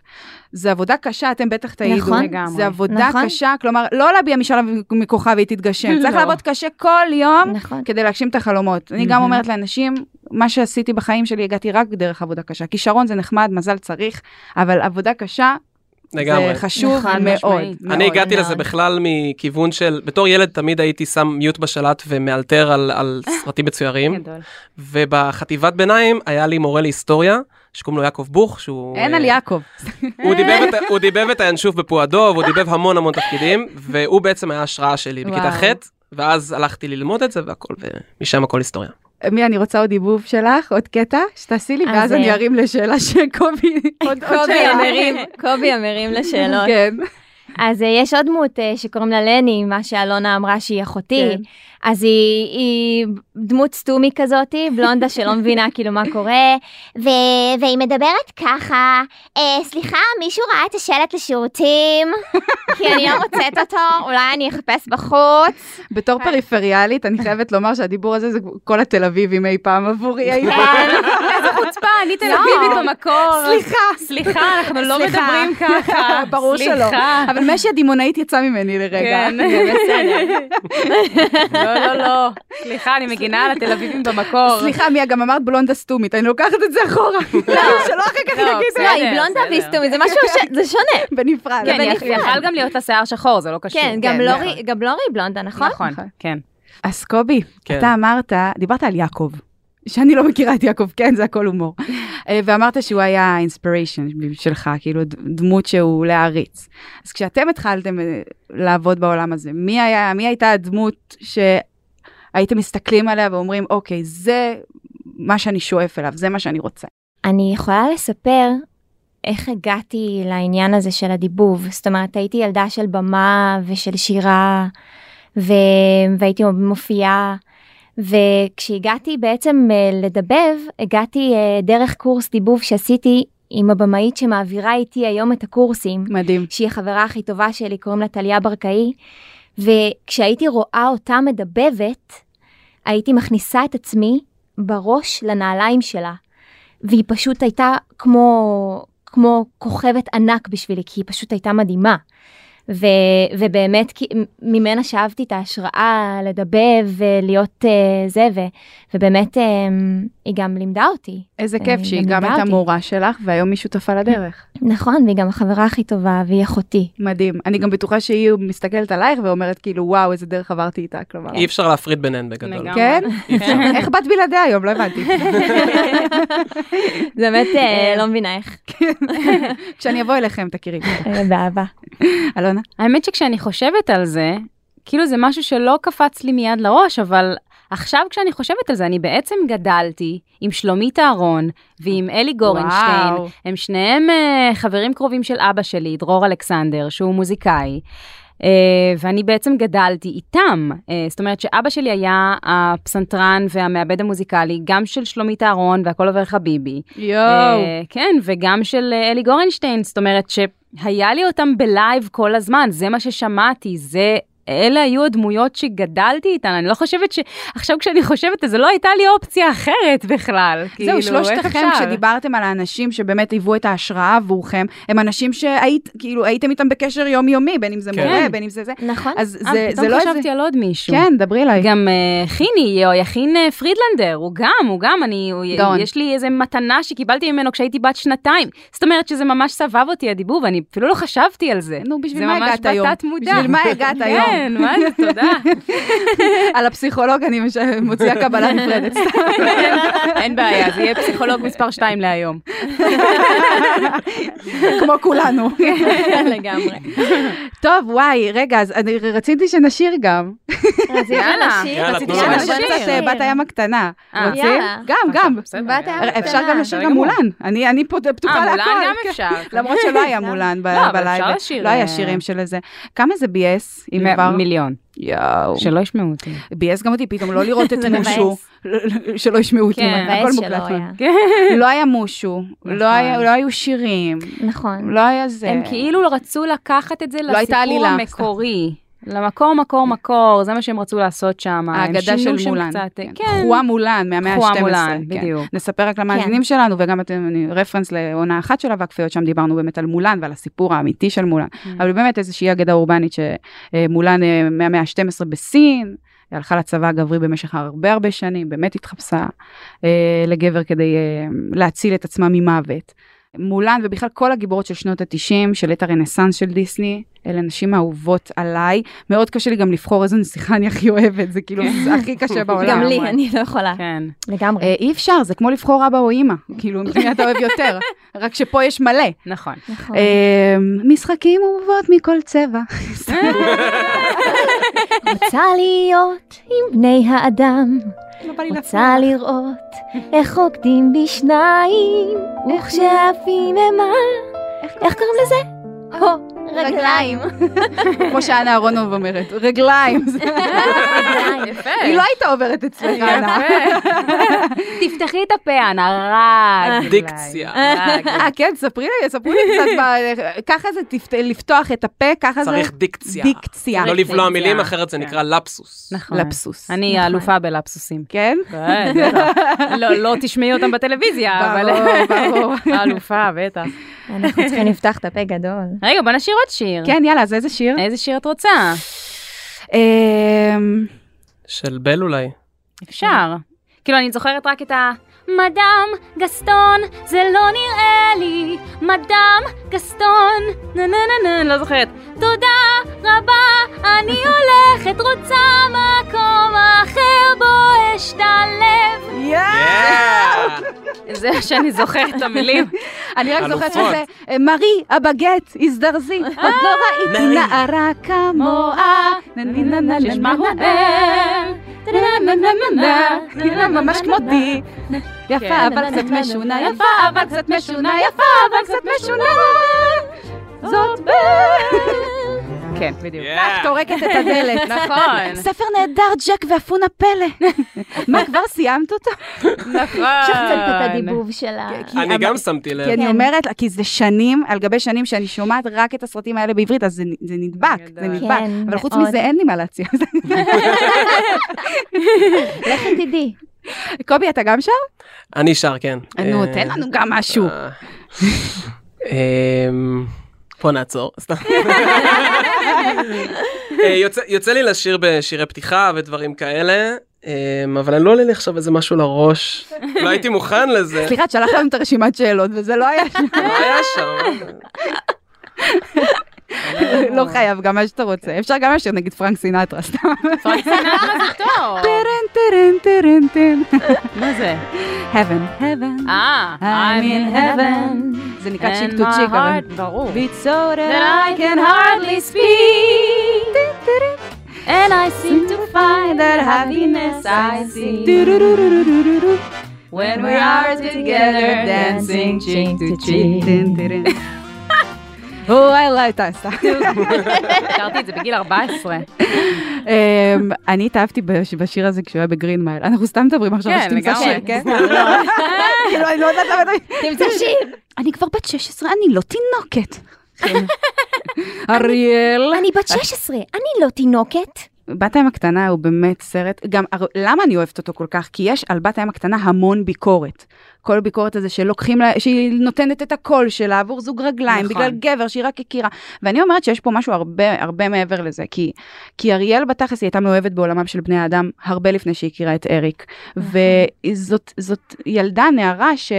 Speaker 2: זה עבודה קשה, אתם בטח תעידו.
Speaker 3: נכון.
Speaker 5: לגמרי.
Speaker 2: זה עבודה
Speaker 3: נכון.
Speaker 2: קשה, כלומר, לא להביע משאלה מכוחה והיא תתגשם. צריך
Speaker 5: לא.
Speaker 2: לעבוד קשה כל יום
Speaker 3: נכון.
Speaker 2: כדי להגשים את החלומות. אני גם אומרת לאנשים, מה שעשיתי בחיים שלי, הגעתי רק דרך עבודה קשה. כישרון זה נחמד, מזל צריך, אבל עבודה קשה
Speaker 4: לגמרי.
Speaker 2: זה חשוב
Speaker 5: נכון,
Speaker 2: מאוד.
Speaker 5: משמעית.
Speaker 2: מאוד.
Speaker 4: אני הגעתי לזה
Speaker 3: מאוד.
Speaker 4: בכלל מכיוון של, בתור ילד תמיד הייתי שם מיוט בשלט ומאלתר על- על סרטים מצוירים,
Speaker 5: גדול.
Speaker 4: ובחטיבת ביניים היה לי מורה להיסטוריה, שקוראים לו יעקב בוך, שהוא...
Speaker 2: אין
Speaker 4: אה,
Speaker 2: על יעקב.
Speaker 4: הוא דיבב את- הוא דיבב את הינשוף בפועדו, והוא דיבב המון המון תפקידים, והוא בעצם היה ההשראה שלי בכיתה ח',
Speaker 5: וואו.
Speaker 4: ואז הלכתי ללמוד את זה והכל, ומשם הכל היסטוריה.
Speaker 2: מי, אני רוצה עוד עיבוב שלך, עוד קטע, שתעשי לי,
Speaker 3: אז,
Speaker 2: ואז אני
Speaker 3: אה,
Speaker 2: ארים לשאלה שקובי, עוד עוד
Speaker 3: קובי
Speaker 2: שאלה.
Speaker 3: המרים, קובי המרים לשאלות.
Speaker 2: כן.
Speaker 3: אז אה, יש עוד דמות אה, שקוראים לה לני, מה שאלונה אמרה שהיא אחותי.
Speaker 2: כן.
Speaker 3: אז היא, היא דמות סתומי כזאתי, בלונדה שלא מבינה כאילו מה קורה.
Speaker 7: ו- והיא מדברת ככה, אה, סליחה, מישהו ראה את השלט לשירותים?
Speaker 3: כי אני לא מוצאת אותו, אולי אני אחפש בחוץ.
Speaker 5: אה.
Speaker 2: בתור פריפריאלית, אני חייבת לומר שהדיבור הזה זה כל התל אביבים אי פעם עבורי
Speaker 5: אה,
Speaker 2: אי פעם.
Speaker 5: איזה חוצפה, אני תל אביבית במקור.
Speaker 2: לא. סליחה.
Speaker 5: לא, סליחה, אנחנו לא
Speaker 2: סליחה.
Speaker 5: מדברים ככה.
Speaker 2: ברור שלא.
Speaker 5: סליחה.
Speaker 2: אבל מה שהדימונאית יצא ממני לרגע.
Speaker 5: כן, בסדר. לא, לא, לא. סליחה, אני מגינה על התל אביבים במקור.
Speaker 2: סליחה, מיה, גם אמרת בלונדה סתומית, אני לוקחת את זה אחורה. שלא אחר כך
Speaker 5: לא,
Speaker 2: יגידו,
Speaker 5: בסדר,
Speaker 3: לא, היא בלונדה
Speaker 5: בסדר.
Speaker 3: והיא סתומית, זה משהו, ש- זה שונה.
Speaker 2: בנפרד.
Speaker 5: כן,
Speaker 3: בנפרד.
Speaker 5: יכל גם להיות לה שיער שחור, זה לא קשור.
Speaker 3: כן, גם
Speaker 2: כן,
Speaker 3: לורי, גם לורי היא בלונדה, נכון?
Speaker 5: נכון, כן.
Speaker 2: אז קובי,
Speaker 4: כן.
Speaker 2: אתה אמרת, דיברת על יעקב, שאני לא מכירה את יעקב, כן, זה הכל הומור. אה, ואמרת שהוא היה האינספיריישן שלך, כאילו ד- דמות שהוא להעריץ. אז כשאתם התחלתם אה, לעבוד בעולם הזה, מי, היה, מי הייתה הדמות שהייתם מסתכלים עליה ואומרים, אוקיי, זה מה שאני שואף אליו, זה מה שאני רוצה.
Speaker 3: אני יכולה לספר איך הגעתי לעניין הזה של הדיבוב. זאת אומרת, הייתי ילדה של במה ושל שירה, ו... והייתי מופיעה, וכשהגעתי בעצם אה, לדבב, הגעתי אה, דרך קורס דיבוב שעשיתי עם הבמאית שמעבירה איתי היום את הקורסים.
Speaker 2: מדהים.
Speaker 3: שהיא החברה הכי טובה שלי, קוראים לה טליה ברקאי, וכשהייתי רואה אותה מדבבת, הייתי מכניסה את עצמי בראש לנעליים שלה, והיא פשוט הייתה כמו, כמו כוכבת ענק בשבילי, כי היא פשוט הייתה מדהימה. ו, ובאמת כי, ממנה שאבתי את ההשראה לדבב ולהיות uh, זה, ו, ובאמת uh, היא גם לימדה אותי.
Speaker 2: איזה
Speaker 3: אה,
Speaker 2: כיף שהיא
Speaker 3: גם
Speaker 2: גם
Speaker 3: לימדה
Speaker 2: הייתה
Speaker 3: אותי.
Speaker 2: מורה שלך, והיום היא שותפה לדרך.
Speaker 3: נכון, והיא גם החברה הכי טובה, והיא אחותי.
Speaker 2: מדהים. אני גם בטוחה שהיא מסתכלת עלייך ואומרת, כאילו, וואו, איזה דרך עברתי איתה, כלומר.
Speaker 4: אי אפשר להפריד ביניהן בגדול.
Speaker 5: לגמרי.
Speaker 2: כן?
Speaker 4: אי אפשר.
Speaker 2: איך באת בלעדיה היום? לא הבנתי.
Speaker 3: זה באמת, אה, לא מבינה איך.
Speaker 2: כשאני אבוא אליכם, תכירי.
Speaker 3: אה, באהבה.
Speaker 2: אלונה?
Speaker 5: האמת שכשאני חושבת על זה, כאילו זה משהו שלא קפץ לי מיד לראש, אבל עכשיו כשאני חושבת על זה, אני בעצם גדלתי עם שלומית אהרון ועם אלי גורנשטיין.
Speaker 2: וואו.
Speaker 5: הם שניהם אה, חברים קרובים של אבא שלי, דרור אלכסנדר, שהוא מוזיקאי. אה, ואני בעצם גדלתי איתם. אה, זאת אומרת שאבא שלי היה הפסנתרן והמעבד המוזיקלי, גם של שלומית אהרון והכל עובר חביבי.
Speaker 2: יואו.
Speaker 5: אה, כן, וגם של אה, אלי גורנשטיין, זאת אומרת שהיה לי אותם בלייב כל הזמן, זה מה ששמעתי, זה אלה היו הדמויות שגדלתי איתן, אני לא חושבת ש... עכשיו כשאני חושבת, אז לא הייתה לי אופציה אחרת בכלל. כאילו,
Speaker 2: זהו,
Speaker 5: איך
Speaker 2: שלושתכם
Speaker 5: אפשר?
Speaker 2: שדיברתם על האנשים שבאמת היוו את ההשראה עבורכם, הם אנשים שהיית, כאילו, הייתם איתם בקשר יומיומי, בין אם זה
Speaker 4: כן.
Speaker 2: מורה, בין אם זה זה.
Speaker 7: נכון.
Speaker 2: אז
Speaker 5: אה,
Speaker 2: זה-
Speaker 5: פתאום
Speaker 2: זה לא איזה...
Speaker 5: חשבתי על עוד מישהו.
Speaker 2: כן, דברי אליי.
Speaker 5: גם אה, חיני, או יכין אה, פרידלנדר, הוא גם, הוא גם, אני, הוא-
Speaker 2: גאון.
Speaker 5: יש לי איזה מתנה שקיבלתי ממנו כשהייתי בת שנתיים. זאת אומרת שזה ממש סבב אותי הדיבור, ואני אפילו לא חשבתי על זה.
Speaker 2: נו, בשביל
Speaker 5: זה
Speaker 2: מה
Speaker 5: ממש
Speaker 2: הגעת היום?
Speaker 5: בתת מודע.
Speaker 2: בשביל מה הגעת היום?
Speaker 5: כן, מה זה, תודה.
Speaker 2: על הפסיכולוג אני מש- מוציאה קבלה נפרדת. סתם.
Speaker 5: אין בעיה, זה יהיה פסיכולוג מספר 2 להיום.
Speaker 2: כמו כולנו.
Speaker 5: כן. לגמרי.
Speaker 2: טוב, וואי, רגע, אז אני רציתי שנשיר גם.
Speaker 5: יאללה.
Speaker 4: יאללה,
Speaker 2: רציתי
Speaker 4: תנו לנו
Speaker 2: שנשיר
Speaker 5: לשיר.
Speaker 2: קצת אה, בת הים הקטנה.
Speaker 5: אה, אוקיי,
Speaker 2: רוצים?
Speaker 7: יאללה.
Speaker 2: גם, גם.
Speaker 5: בסדר,
Speaker 7: בת
Speaker 5: יאללה.
Speaker 7: הים
Speaker 2: אפשר גם
Speaker 7: קטנה.
Speaker 2: לשיר גם מולן. אני אני פה פתוחה
Speaker 5: אה,
Speaker 2: להכל.
Speaker 5: מולן גם
Speaker 2: כן.
Speaker 5: אפשר.
Speaker 2: למרות שלא היה מולן ב-
Speaker 5: לא, אבל
Speaker 2: בלייב.
Speaker 5: אפשר לשיר,
Speaker 2: לא היה
Speaker 5: אה,
Speaker 2: שירים של איזה. כמה זה ביאס, אם
Speaker 5: מ-
Speaker 2: עבר?
Speaker 5: מיליון.
Speaker 2: יואו.
Speaker 5: שלא ישמעו אותי.
Speaker 2: ביאס גם אותי פתאום לא לראות את
Speaker 3: זה
Speaker 2: מושו.
Speaker 3: מבאס.
Speaker 2: שלא ישמעו אותי.
Speaker 5: כן,
Speaker 2: הכל
Speaker 3: מבאס שלא
Speaker 2: מוקלט.
Speaker 3: היה.
Speaker 2: לא היה מושו, לא היה- לא היו שירים,
Speaker 3: נכון.
Speaker 2: לא היה זה.
Speaker 5: נכון. הם כאילו רצו לקחת את זה
Speaker 2: לא הייתה
Speaker 5: לסיפור
Speaker 2: עלילה,
Speaker 5: המקורי. למקור, מקור, מקור, זה מה שהם רצו לעשות שם. הם
Speaker 2: האגדה של
Speaker 5: שינו שם
Speaker 2: מולן.
Speaker 5: קצת,
Speaker 2: כן.
Speaker 5: כן.
Speaker 2: חואה מולן מהמאה ה-12. כן.
Speaker 5: חואה מולן, בדיוק. כן.
Speaker 2: נספר רק למאזינים שלנו, וגם אתם, אני רפרנס לעונה אחת של הוואקפיות, שם דיברנו באמת על מולן ועל הסיפור האמיתי של מולן.
Speaker 5: כן.
Speaker 2: אבל באמת איזושהי אגדה אורבנית שמולן אה, מהמאה ה-12 בסין, היא הלכה לצבא הגברי במשך הרבה הרבה שנים, באמת התחפשה אה, לגבר כדי אה, להציל את עצמה ממוות. מולן ובכלל כל הגיבורות של שנות ה-90, של עת הרנסאנס של דיסני, אלה נשים אהובות עליי. מאוד קשה לי גם לבחור איזו נסיכה אני הכי אוהבת, זה כאילו זה הכי קשה בעולם.
Speaker 3: גם לי, אני לא יכולה.
Speaker 5: כן.
Speaker 3: לגמרי.
Speaker 2: אה, אי אפשר, זה כמו לבחור אבא או אימא, כאילו, מי אתה אוהב יותר, רק שפה יש מלא.
Speaker 5: נכון.
Speaker 3: נכון.
Speaker 2: אה, משחקים אהובות מכל צבע.
Speaker 3: רוצה להיות עם בני האדם,
Speaker 2: לא בא לי
Speaker 3: רוצה לראות איך רוקדים בשניים, וכשהפיממה, איך קוראים לזה? הו, רגליים.
Speaker 2: כמו שאנה אהרונוב אומרת, רגליים. זה-
Speaker 3: רגליים.
Speaker 2: היא לא הייתה עוברת
Speaker 3: כן.
Speaker 2: אצלך, אנה.
Speaker 5: תפתחי את הפה, אנה, רק.
Speaker 4: דיקציה.
Speaker 2: אה, כן, ספרי לי, ספרי לי קצת, ב- ככה זה תפת- לפתוח את הפה, ככה זה...
Speaker 4: צריך דיקציה.
Speaker 2: אה, דיקציה.
Speaker 4: לא לבלוע
Speaker 5: דיקציה.
Speaker 4: מילים, אחרת זה
Speaker 5: כן.
Speaker 4: נקרא לפסוס.
Speaker 5: נכון.
Speaker 2: לפסוס.
Speaker 5: אני האלופה בלפסוסים.
Speaker 2: כן?
Speaker 5: כן, בטח. לא, לא תשמעי אותם בטלוויזיה, אבל...
Speaker 2: ברור, ברור.
Speaker 5: האלופה, בטח.
Speaker 3: אנחנו צריכים לפתוח את הפה גדול.
Speaker 5: רגע, בוא נשאיר עוד שיר.
Speaker 2: כן, יאללה, אז איזה שיר?
Speaker 5: איזה שיר את רוצה?
Speaker 2: אמ,
Speaker 4: של בל אולי.
Speaker 5: אפשר. כאילו, אני זוכרת רק את ה... מדאם גסטון, זה לא נראה לי, מדאם גסטון, נה נה נה נה, לא זוכרת. תודה רבה, אני הולכת, רוצה מקום אחר בו אשתלב.
Speaker 2: אה,
Speaker 5: זה מה שאני זוכרת את המילים.
Speaker 2: אני רק זוכרת
Speaker 4: אלופות.
Speaker 2: שזה, אה, מארי, הבגט, הזדרזי, עוד לא ראיתי נערה כמוה. נה, נה, נה, נה,
Speaker 5: שיש
Speaker 2: נה,
Speaker 5: מה הוא
Speaker 2: נה,
Speaker 5: אומר.
Speaker 2: נה, נה, נה, נה, נה, נה, נה, ממש כמותי. יפה
Speaker 5: כן.
Speaker 2: אבל קצת משונה, יפה אבל קצת משונה, יפה אבל קצת משונה. זאת ב...
Speaker 5: כן, בדיוק.
Speaker 2: כך
Speaker 4: אה.
Speaker 2: טורקת את הדלת.
Speaker 5: נכון,
Speaker 2: ספר נהדר, ג'ק ואפונה פלא. מה, כבר סיימת אותו?
Speaker 5: נכון.
Speaker 3: שחצנת את הדיבוב של ה...
Speaker 2: כי
Speaker 4: אני
Speaker 2: אמר-
Speaker 4: גם שמתי לב.
Speaker 2: כי אני
Speaker 3: כן.
Speaker 2: אומרת, לה, כי זה שנים על גבי שנים שאני שומעת רק את הסרטים האלה בעברית, אז זה נ- זה נדבק,
Speaker 5: אני
Speaker 2: זה
Speaker 5: יודעת.
Speaker 2: נדבק.
Speaker 3: כן,
Speaker 2: אבל חוץ
Speaker 3: מאוד.
Speaker 2: מזה אין לי מה להציע.
Speaker 3: לכי תדעי.
Speaker 2: קובי, אתה גם שר?
Speaker 4: אני שר, כן.
Speaker 2: נו,
Speaker 4: אה,
Speaker 2: תן לנו גם משהו.
Speaker 4: אה, אמ, פה נעצור, סתם. אה, יוצא- יוצא לי לשיר בשירי פתיחה ודברים כאלה, אמ, אבל אני לא עולה לי עכשיו איזה משהו לראש. לא הייתי מוכן לזה.
Speaker 2: סליחה, את שלחת לנו את הרשימת שאלות, וזה לא היה,
Speaker 4: מה היה שם?
Speaker 2: לא חייב, גם מה שאתה רוצה. אפשר גם לשיר נגיד פרנק סינטרה, סתם.
Speaker 5: פרנק סינטרה זה טוב.
Speaker 2: טרן, טרן, טרן, טרן.
Speaker 5: מה זה?
Speaker 2: heaven, heaven,
Speaker 5: אה,
Speaker 2: I'm in heaven. זה נקרא צ'יק טו צ'יק, אבל...
Speaker 5: ברור.
Speaker 2: Beat so that
Speaker 5: I can hardly speak. And I seem to find that happiness I see. When we are together dancing cheek to Oh, cheek.
Speaker 2: טרן, טרן. או, וואלה, אתה עשה.
Speaker 5: הכרתי את זה בגיל 14.
Speaker 2: אמ, אני התאהבתי בש- בשיר הזה כשהוא היה בגרין מייל. אנחנו סתם מדברים עכשיו,
Speaker 5: כן,
Speaker 2: אז תמצא
Speaker 5: לגמרי.
Speaker 2: שיר, כן? כאילו, אני לא יודעת למה... אתה-
Speaker 3: תמצא שיר.
Speaker 2: אני כבר בת 16, אני לא תינוקת. אריאל.
Speaker 3: אני בת 16, אני לא תינוקת.
Speaker 2: בת הים הקטנה הוא באמת סרט, גם הר- למה אני אוהבת אותו כל כך? כי יש על בת הים הקטנה המון ביקורת. כל הביקורת הזה שלוקחים לה, שהיא נותנת את הקול שלה עבור זוג רגליים,
Speaker 5: נכון.
Speaker 2: נכון. בגלל גבר שהיא רק הכירה. ואני אומרת שיש פה משהו הרבה, הרבה מעבר לזה, כי, כי אריאל בתכלס היא הייתה מאוהבת בעולמם של בני האדם הרבה לפני שהיא הכירה את אריק. וזאת זאת ילדה, נערה, ש...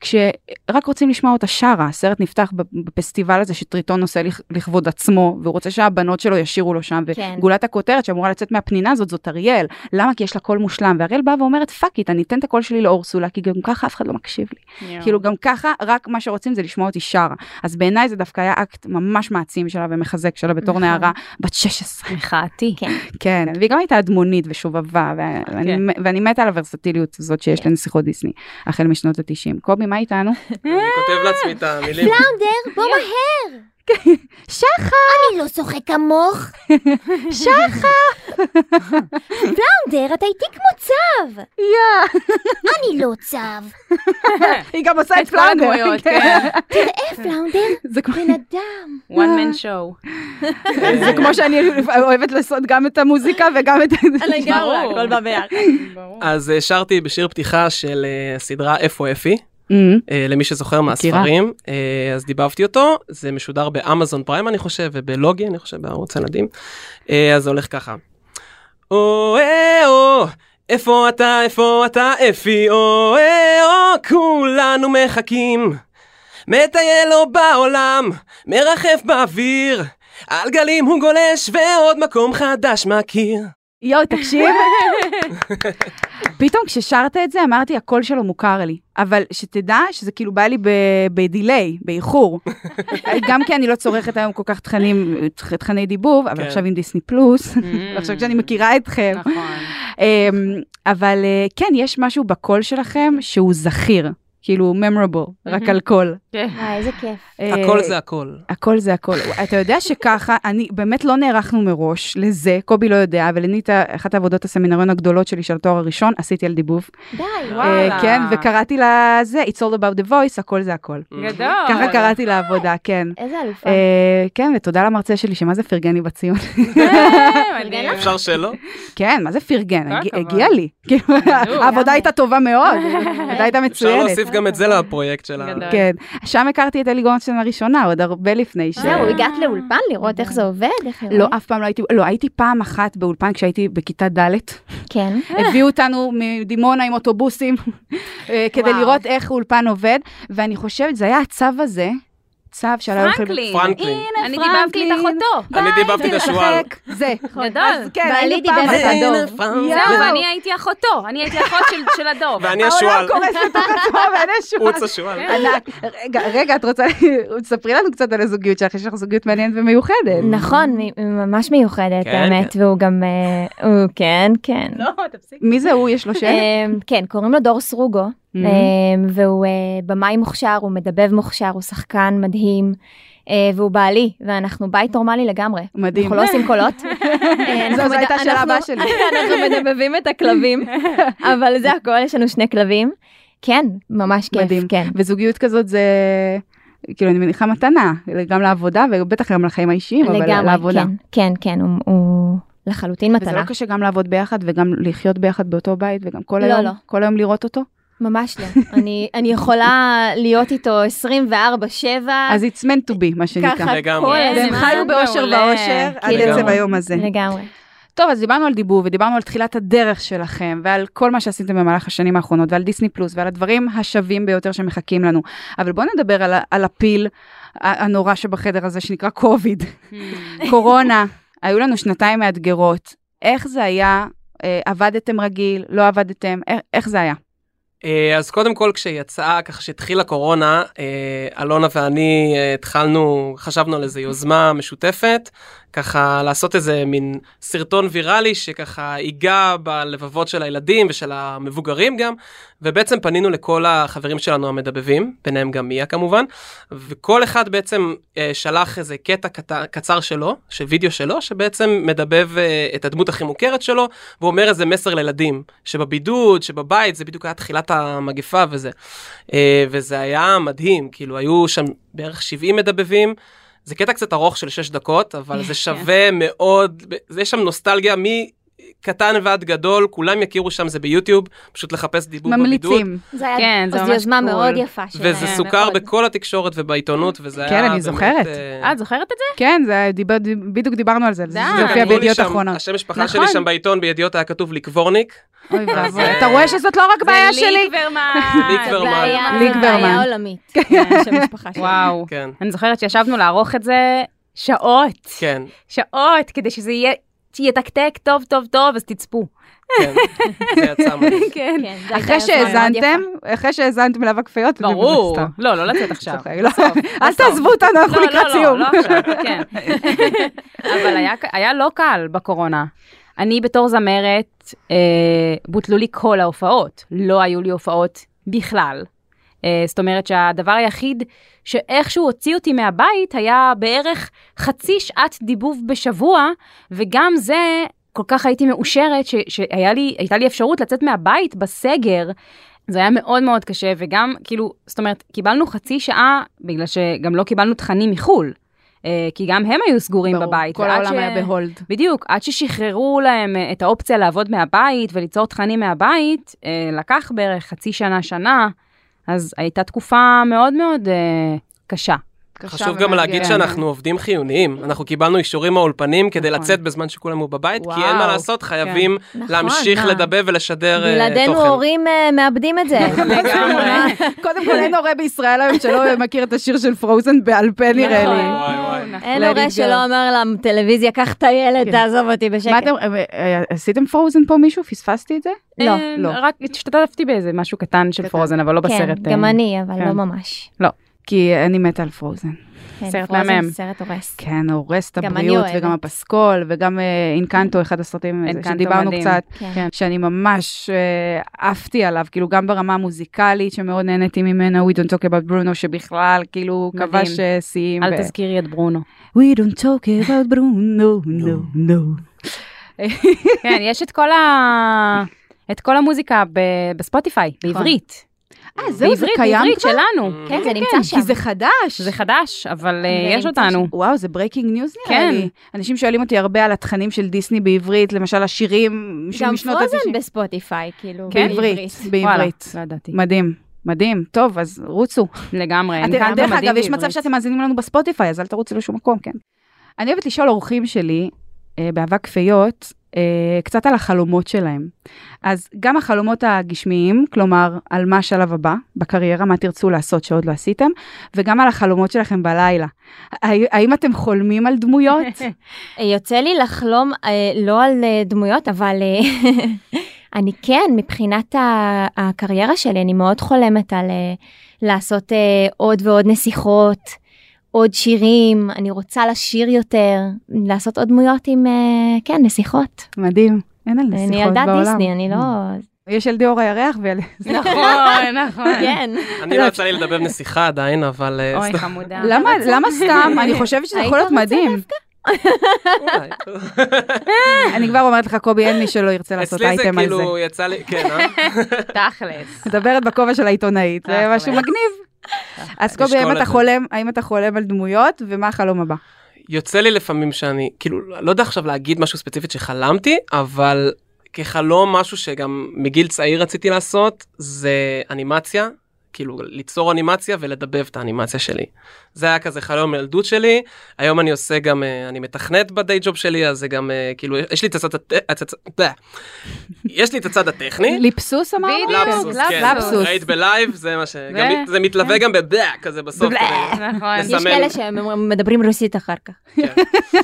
Speaker 2: כשרק רוצים לשמוע אותה שרה, הסרט נפתח בפסטיבל הזה שטריטון עושה לכ- לכבוד עצמו, והוא רוצה שהבנות שלו ישירו לו שם,
Speaker 3: כן.
Speaker 2: וגולת הכותרת שאמורה לצאת מהפנינה הזאת זאת אריאל, למה? כי יש לה קול מושלם, ואריאל באה ואומרת פאק איט, אני אתן את הקול שלי לאורסולה, כי גם ככה אף אחד לא מקשיב לי. כאילו גם ככה, רק מה שרוצים זה לשמוע אותי שרה. אז בעיניי זה דווקא היה אקט ממש מעצים שלה ומחזק שלה בתור
Speaker 3: נכון.
Speaker 2: נערה בת 16.
Speaker 5: מחאתי.
Speaker 2: כן, והיא גם הייתה אדמונית ושובבה, ו- ואני, ואני מתה על הוורסטיליות הזאת שיש לנסיכות דיסני, החל משנות ה-90. קובי, מה איתנו?
Speaker 4: אני כותב לעצמי את המילים.
Speaker 7: פלאונדר, בוא מהר.
Speaker 2: שחר!
Speaker 7: אני לא שוחה כמוך.
Speaker 2: שחר!
Speaker 7: פלאונדר, אתה איתי כמו צב.
Speaker 2: יא!
Speaker 7: אני לא צב.
Speaker 2: היא גם עושה את
Speaker 5: את כל
Speaker 2: פלאנדר.
Speaker 5: הדמויות, כן.
Speaker 7: תראה, אה, פלאונדר,
Speaker 2: זה כמו-
Speaker 7: בן אדם.
Speaker 5: one man show.
Speaker 4: אה,
Speaker 2: זה כמו שאני אוהבת לעשות גם את המוזיקה וגם את...
Speaker 5: לגמרי, הכל בא
Speaker 8: ביחד.
Speaker 4: אז אה, שרתי בשיר פתיחה של אה, הסדרה איפה אפי, אה, למי שזוכר מהספרים, אה, אז דיבבתי אותו, זה משודר באמזון פריים אני חושב, ובלוגי אני חושב, בערוץ הילדים, אה, אז זה הולך ככה. או אה או, איפה אתה, איפה אתה, אפי, או אה או, כולנו מחכים. מטייל לו בעולם, מרחף באוויר, על גלים הוא גולש ועוד מקום חדש מכיר.
Speaker 2: יואו, תקשיב. פתאום כששרת את זה אמרתי, הקול שלו מוכר לי. אבל שתדע שזה כאילו בא לי ב- בדיליי, באיחור. גם כי אני לא צורכת היום כל כך תכנים, תכ- תכני דיבוב, אבל
Speaker 4: כן.
Speaker 2: עכשיו עם דיסני פלוס, עכשיו שאני מכירה אתכם.
Speaker 5: נכון.
Speaker 2: אמ, אבל אה, כן, יש משהו בקול שלכם שהוא זכיר, כאילו memorable, רק
Speaker 5: מהמם.
Speaker 2: על קול.
Speaker 7: וואי, איזה כיף.
Speaker 2: אה,
Speaker 4: הכל זה הכל.
Speaker 2: הכל זה הכל. אתה יודע שככה, אני, באמת לא נערכנו מראש לזה, קובי לא יודע, אבל אני את ה- אחת העבודות הסמינריון הגדולות שלי של התואר הראשון, עשיתי על דיבוב.
Speaker 7: די.
Speaker 5: וואו.
Speaker 2: אה,
Speaker 5: וואלה.
Speaker 2: כן, וקראתי לה זה, It's all about the voice, הכל זה הכל.
Speaker 5: גדול. אה,
Speaker 2: ככה קראתי לעבודה, כן.
Speaker 7: איזה אלופה.
Speaker 2: אה, כן, ותודה למרצה שלי, שמה זה פרגן לי בציון.
Speaker 5: אה, מדהים.
Speaker 4: אפשר שלא?
Speaker 2: כן, מה זה פרגן?
Speaker 5: כל
Speaker 2: הגיע-
Speaker 5: הכבוד.
Speaker 2: הגיע לי. כאילו, העבודה הייתה טובה מאוד, העבודה הייתה
Speaker 4: אפשר
Speaker 2: מצוינת.
Speaker 4: להוסיף גם את זה לפרויקט של ה...
Speaker 5: גדול.
Speaker 2: כן, שם הכרתי את אלי גורנשטיין לראשונה, עוד הרבה לפני
Speaker 3: אה,
Speaker 2: ש...
Speaker 7: זהו, הגעת לאולפן לראות איך זה עובד? איך
Speaker 2: לא,
Speaker 7: נראה?
Speaker 2: אף פעם לא הייתי, לא, הייתי פעם אחת באולפן כשהייתי בכיתה ד',
Speaker 7: כן.
Speaker 2: הביאו אותנו מדימונה עם אוטובוסים אה, כדי
Speaker 5: וואו.
Speaker 2: לראות איך אולפן עובד, ואני חושבת, זה היה הצו הזה, צו שעלה הולכים...
Speaker 5: פרנקלין.
Speaker 4: פרנקלין.
Speaker 5: אני דיברתי את אחותו.
Speaker 4: אני דיברתי את השועל.
Speaker 2: זה.
Speaker 5: גדול.
Speaker 2: כן,
Speaker 7: בעלי
Speaker 2: היינו
Speaker 7: דיבר
Speaker 2: פעם אחת.
Speaker 7: את הדוב.
Speaker 5: זהו, ואני הייתי אחותו. אני הייתי אחות של- של הדוב.
Speaker 4: ואני
Speaker 2: העולם אה,
Speaker 4: השועל,
Speaker 2: קורס לתוך עצמו ואני השועל.
Speaker 4: עוץ השועל.
Speaker 2: ענק. רגע, רגע, את רוצה, ספרי לנו קצת על הזוגיות שלך, יש לך זוגיות מעניינת ומיוחדת.
Speaker 3: נכון, מ- ממש מיוחדת,
Speaker 4: כן,
Speaker 3: האמת, והוא גם, אה, הוא כן, כן.
Speaker 5: לא,
Speaker 2: מי זה הוא? יש לו שם? Mm.
Speaker 3: אמ, כן, קוראים לו דור סרוגו, אמ, והוא אה, במאי מוכשר, הוא מדבב מוכשר, הוא שחקן מדהים, אה, והוא בעלי, ואנחנו בית נורמלי לגמרי.
Speaker 2: מדהים.
Speaker 3: אנחנו לא עושים קולות. אה, אנחנו
Speaker 2: זו, זו
Speaker 3: מד-
Speaker 2: הייתה השאלה
Speaker 3: אנחנו-
Speaker 2: הבאה שלי.
Speaker 3: אנחנו מדבבים את הכלבים, אבל זה הכל, יש לנו שני כלבים. כן, ממש כיף,
Speaker 2: מדהים.
Speaker 3: כן.
Speaker 2: וזוגיות כזאת זה, כאילו, אני מניחה מתנה, גם לעבודה ובטח גם לחיים האישיים, אבל
Speaker 3: לגמרי,
Speaker 2: לעבודה.
Speaker 3: כן, כן, כן, הוא- הוא לחלוטין
Speaker 2: וזה לא
Speaker 3: מתנה.
Speaker 2: קשה גם לעבוד ביחד וגם לחיות ביחד באותו בית וגם כל
Speaker 3: לא,
Speaker 2: היום,
Speaker 3: לא.
Speaker 2: כל היום לראות אותו?
Speaker 3: ממש לא. אני- אני יכולה להיות איתו 24/7.
Speaker 2: אז it's meant to be, מה שנקרא.
Speaker 3: ככה
Speaker 4: לגמרי.
Speaker 3: כל
Speaker 2: והם
Speaker 3: הזמן.
Speaker 2: חיו באושר
Speaker 5: מעולה.
Speaker 2: ואושר עד
Speaker 3: כאילו,
Speaker 2: עצם היום הזה.
Speaker 3: לגמרי.
Speaker 2: טוב, אז דיברנו על דיבור ודיברנו על תחילת הדרך שלכם ועל כל מה שעשיתם במהלך השנים האחרונות ועל דיסני פלוס ועל הדברים השווים ביותר שמחכים לנו. אבל בואו נדבר על, ה- על הפיל ה- הנורא שבחדר הזה שנקרא קוביד. קורונה, היו לנו שנתיים מאתגרות. איך זה היה? אה, עבדתם רגיל, לא עבדתם, איך, איך זה היה?
Speaker 4: אה, אז קודם כל כשיצאה, ככה שהתחילה קורונה, אה, אלונה ואני אה, התחלנו, חשבנו על איזה יוזמה משותפת, ככה לעשות איזה מין סרטון ויראלי שככה ייגע בלבבות של הילדים ושל המבוגרים גם, ובעצם פנינו לכל החברים שלנו המדבבים, ביניהם גם מיה כמובן, וכל אחד בעצם אה, שלח איזה קטע קט- קצר שלו, של וידאו שלו, שבעצם מדבב אה, את הדמות הכי מוכרת שלו, ואומר איזה מסר לילדים, שבבידוד, שבבית, זה בדיוק היה תחילת המגפה וזה. אה, וזה היה מדהים, כאילו היו שם בערך 70 מדבבים, זה קטע קצת ארוך של 6 דקות, אבל זה שווה מאוד, יש שם נוסטלגיה מקטן ועד גדול, כולם יכירו שם, זה ביוטיוב, פשוט לחפש דיבור בבידוד.
Speaker 2: ממליצים.
Speaker 3: זה היה,
Speaker 5: כן, זה
Speaker 3: זו
Speaker 5: ממש
Speaker 3: יוזמה
Speaker 5: קול.
Speaker 3: מאוד יפה אה, שלהם.
Speaker 4: וזה סוכר
Speaker 5: מאוד.
Speaker 4: בכל התקשורת ובעיתונות, וזה היה
Speaker 2: נכון. כן, אני
Speaker 4: באמת,
Speaker 2: זוכרת.
Speaker 4: אה,
Speaker 5: אה, את זוכרת את זה?
Speaker 2: כן, זה היה- דיבר- בדיוק דיברנו על זה, זה
Speaker 5: די.
Speaker 2: מופיע
Speaker 4: כן, אמרו לי
Speaker 2: בידיעות
Speaker 4: שם,
Speaker 2: אחרונות.
Speaker 4: השם משפחה שלי
Speaker 2: נכון.
Speaker 4: שם בעיתון בידיעות היה כתוב לקוורניק.
Speaker 2: אוי ואבוי.
Speaker 4: אה,
Speaker 2: אתה רואה שזאת לא רק בעיה שלי?
Speaker 4: ליגברמן.
Speaker 3: זה היה-
Speaker 2: ליג
Speaker 3: זה היה
Speaker 2: ברמן.
Speaker 3: עולמית. כן, של המשפחה שלנו.
Speaker 5: וואו.
Speaker 2: אוקיי.
Speaker 4: כן,
Speaker 5: אני זוכרת שישבנו לערוך את זה שעות,
Speaker 4: כן,
Speaker 5: שעות, כדי שזה יהיה... שיתקתק טוב טוב טוב, אז תצפו.
Speaker 4: כן, זה יצא מזה.
Speaker 2: כאילו
Speaker 5: כן.
Speaker 3: כן, זה הייתה
Speaker 2: אחרי
Speaker 3: יוזמה מאוד
Speaker 2: שהאזנתם,
Speaker 3: יפה.
Speaker 2: אחרי שהאזנתם לאבק כפיות,
Speaker 5: ברור. לא, לא לצאת עכשיו.
Speaker 2: צוחק, לא.
Speaker 5: בסוף,
Speaker 2: אל
Speaker 5: בסוף.
Speaker 2: תעזבו אותנו, אנחנו
Speaker 5: לא,
Speaker 2: לקראת
Speaker 5: לא,
Speaker 2: סיום.
Speaker 5: לא, לא עכשיו, כן. אבל היה, היה לא קל בקורונה. אני בתור זמרת, אה, בוטלו לי כל ההופעות. לא היו לי הופעות בכלל. אה, זאת אומרת שהדבר היחיד שאיכשהו הוציא אותי מהבית היה בערך חצי שעת דיבוב בשבוע, וגם זה, כל כך הייתי מאושרת ש, שהיה לי, הייתה לי אפשרות לצאת מהבית בסגר. זה היה מאוד מאוד קשה, וגם, כאילו, זאת אומרת, קיבלנו חצי שעה, בגלל שגם לא קיבלנו תכנים מחו"ל, אה, כי גם הם היו סגורים
Speaker 2: ברור,
Speaker 5: בבית.
Speaker 2: כל
Speaker 5: ועד
Speaker 2: העולם
Speaker 5: ש-
Speaker 2: היה בהולד.
Speaker 5: בדיוק, עד ששחררו להם אה, את האופציה לעבוד מהבית וליצור תכנים מהבית, אה, לקח בערך חצי שנה, שנה, אז הייתה תקופה מאוד מאוד אה, קשה.
Speaker 2: קשה
Speaker 4: חשוב גם להגיד
Speaker 2: ומאתגרת.
Speaker 4: שאנחנו עובדים חיוניים. אנחנו קיבלנו אישורים מהאולפנים כדי
Speaker 5: נכון.
Speaker 4: לצאת בזמן שכולם היו בבית, כי אין מה
Speaker 5: וואו,
Speaker 4: לעשות,
Speaker 2: כן.
Speaker 4: חייבים
Speaker 3: נכון,
Speaker 4: להמשיך
Speaker 3: מה?
Speaker 4: לדבר ולשדר אה, תוכן.
Speaker 3: בלעדינו הורים אה, מאבדים את זה.
Speaker 4: לגמרי.
Speaker 2: קודם כל, אין הורה בישראל היום שלא מכיר את השיר של פרוזן בעל פה, נראה
Speaker 3: נכון.
Speaker 2: לי.
Speaker 4: וואי, וואי.
Speaker 3: אין
Speaker 2: Let it
Speaker 3: הורה
Speaker 2: go.
Speaker 3: שלא אומר לטלוויזיה, קח את הילד,
Speaker 2: כן.
Speaker 3: תעזוב אותי בשקט.
Speaker 2: מה אתם, אה, אה, עשיתם פרוזן פה מישהו? פספסתי את זה?
Speaker 5: לא,
Speaker 2: לא.
Speaker 5: לא. רק השתתפתי באיזה משהו קטן של
Speaker 2: קטן.
Speaker 5: פרוזן, אבל לא בסרט.
Speaker 3: כן, גם
Speaker 5: אה,
Speaker 3: אני, אבל
Speaker 5: כן.
Speaker 3: לא ממש.
Speaker 2: כי אני מתה על פרוזן.
Speaker 3: כן,
Speaker 5: סרט
Speaker 3: פרוזן
Speaker 5: מהמם.
Speaker 3: זה סרט הורס.
Speaker 2: כן, הורס את
Speaker 3: גם אני
Speaker 2: הבריאות,
Speaker 3: אוהבת.
Speaker 2: וגם הפסקול, וגם אה, אינקנטו, אחד הסרטים אה,
Speaker 5: אינקנטו
Speaker 2: שדיברנו
Speaker 5: מדהים.
Speaker 2: קצת.
Speaker 3: כן.
Speaker 2: כן. שאני ממש אה, עפתי עליו, כאילו גם ברמה המוזיקלית שמאוד נהניתי ממנו, We Don't Talk About Bruno, שבכלל כאילו
Speaker 5: מדהים.
Speaker 2: כבש אה, שיאים.
Speaker 5: אל תזכירי את ברונו.
Speaker 2: We Don't Talk About Bruno, no, no.
Speaker 5: כן, יש את כל ה... את כל המוזיקה ב- בספוטיפיי, בעברית.
Speaker 2: אה, זהו, זה
Speaker 5: בעברית,
Speaker 2: קיים
Speaker 5: בעברית
Speaker 2: כבר?
Speaker 5: שלנו.
Speaker 3: כן, זה
Speaker 2: כן,
Speaker 3: נמצא שם.
Speaker 2: כי זה חדש.
Speaker 5: זה חדש, אבל אה, יש
Speaker 3: נמצא
Speaker 5: אותנו.
Speaker 2: וואו, זה ברייקינג ניוז נראה
Speaker 5: כן.
Speaker 2: לי. אנשים שואלים אותי הרבה על התכנים של דיסני בעברית, למשל השירים של
Speaker 3: גם
Speaker 2: משנות ה-90.
Speaker 3: פרוזן בספוטיפיי, כאילו,
Speaker 5: כן?
Speaker 2: בעברית.
Speaker 5: וואלה,
Speaker 2: בעברית.
Speaker 5: לא ידעתי.
Speaker 2: מדהים, מדהים. טוב, אז רוצו.
Speaker 5: לגמרי.
Speaker 2: אתם-
Speaker 5: אינקנטו
Speaker 2: דרך
Speaker 5: מדהים
Speaker 2: אגב, יש מצב
Speaker 5: בעברית.
Speaker 2: שאתם מאזינים לנו בספוטיפיי, אז אל תרוצו לשום מקום, כן. אני אוהבת לשאול אורחים שלי, אה, באבק כפיות, אה, קצת על החלומות שלהם. אז גם החלומות הגשמיים, כלומר, על מה השלב הבא בקריירה, מה תרצו לעשות שעוד לא עשיתם, וגם על החלומות שלכם בלילה. האם- האם אתם חולמים על דמויות?
Speaker 3: יוצא לי לחלום אה, לא על אה, דמויות, אבל אה, אני כן, מבחינת ה- הקריירה שלי, אני מאוד חולמת על אה, לעשות אה, עוד ועוד נסיכות, עוד שירים, אני רוצה לשיר יותר, לעשות עוד דמויות עם, אה, כן, נסיכות.
Speaker 2: מדהים. אין על
Speaker 3: אני
Speaker 2: נסיכות
Speaker 3: ילדת
Speaker 2: בעולם.
Speaker 3: דיסני, אני לא...
Speaker 2: יש ילדי אור הירח וילדי...
Speaker 5: נכון, נכון.
Speaker 3: כן.
Speaker 4: אני לא יצא לי לדבר נסיכה עדיין, אבל... אה,
Speaker 5: אוי,
Speaker 4: סתם,
Speaker 5: חמודה.
Speaker 2: למה למה סתם? אני חושבת שזה יכול להיות מדהים.
Speaker 4: אולי.
Speaker 2: אני כבר אומרת לך, קובי, אין מי שלא ירצה לעשות
Speaker 4: אצלי זה
Speaker 2: אייטם על זה.
Speaker 4: כאילו יצא לי, כן, אה?
Speaker 5: תכלס.
Speaker 2: מדברת בכובע של העיתונאית, זה
Speaker 4: אה,
Speaker 5: אחלה.
Speaker 2: משהו מגניב. אז
Speaker 4: נשקול
Speaker 2: קובי, האם
Speaker 4: אה, את
Speaker 2: אתה
Speaker 4: זה.
Speaker 2: חולם, האם אתה חולם על דמויות, ומה החלום הבא?
Speaker 4: יוצא לי לפעמים שאני, כאילו, לא יודע עכשיו להגיד משהו ספציפית שחלמתי, אבל כחלום משהו שגם מגיל צעיר רציתי לעשות, זה אנימציה, כאילו ליצור אנימציה ולדבב את האנימציה שלי. זה היה כזה חלום ילדות שלי, היום אני עושה גם, אה, אני מתכנת בדיי ג'וב שלי, אז זה גם, אה, כאילו, יש לי את הצד, הט- הצד- אה, יש לי את הצד הטכני.
Speaker 2: אה, ליפסוס אמרנו?
Speaker 5: בדיוק,
Speaker 4: לפסוס, כן.
Speaker 2: לפסוס.
Speaker 4: ראית בלייב, זה מה ש...
Speaker 5: זה-
Speaker 4: גם- זה מתלווה גם בבלה, כזה בסוף. כדי-
Speaker 5: נכון,
Speaker 3: יש
Speaker 4: לסמן.
Speaker 3: כאלה שמדברים רוסית אחר כך.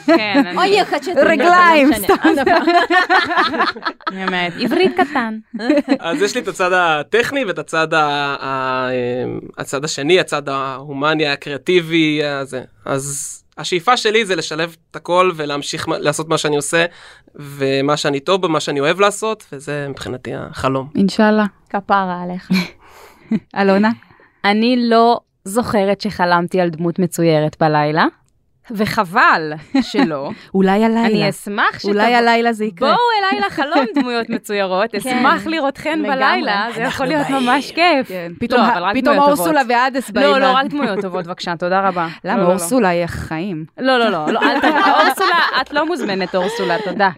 Speaker 5: כן, אני-
Speaker 3: אוי, איך את שאתה-
Speaker 2: רגליים,
Speaker 3: לא משנה.
Speaker 5: אני אומרת, עברית קטן.
Speaker 4: אז יש לי את הצד הטכני ואת הצד, ה... ה... אמ, הצד השני, הצד ההומני, הקריאטיבי, הזה. אז השאיפה שלי זה לשלב את הכל ולהמשיך מה- לעשות מה שאני עושה, ומה שאני טוב בו, מה שאני אוהב לעשות, וזה מבחינתי החלום.
Speaker 2: אינשאללה.
Speaker 3: כפרה עליך.
Speaker 2: אלונה?
Speaker 5: אני לא זוכרת שחלמתי על דמות מצוירת בלילה, וחבל שלא.
Speaker 2: אולי הלילה.
Speaker 5: אני אשמח שתבואו.
Speaker 2: אולי הלילה זה יקרה.
Speaker 5: בואו אליי לחלום דמויות מצוירות, אשמח לראותכן
Speaker 3: לגמרי.
Speaker 5: בלילה, זה יכול להיות ממש כיף.
Speaker 2: כן, פתאום
Speaker 5: לא,
Speaker 2: ה-
Speaker 5: אבל רק
Speaker 2: פתאום
Speaker 5: דמויות
Speaker 2: אורסולה
Speaker 5: טובות.
Speaker 2: ועדס באים.
Speaker 5: לא, לא,
Speaker 2: לה-
Speaker 5: רק דמויות טובות, בבקשה, תודה רבה. לא,
Speaker 2: למה
Speaker 5: לא, לא.
Speaker 2: אורסולה היא החיים?
Speaker 5: לא, לא, לא, לא, אל ת... אורסולה, את לא מוזמנת, אורסולה, תודה.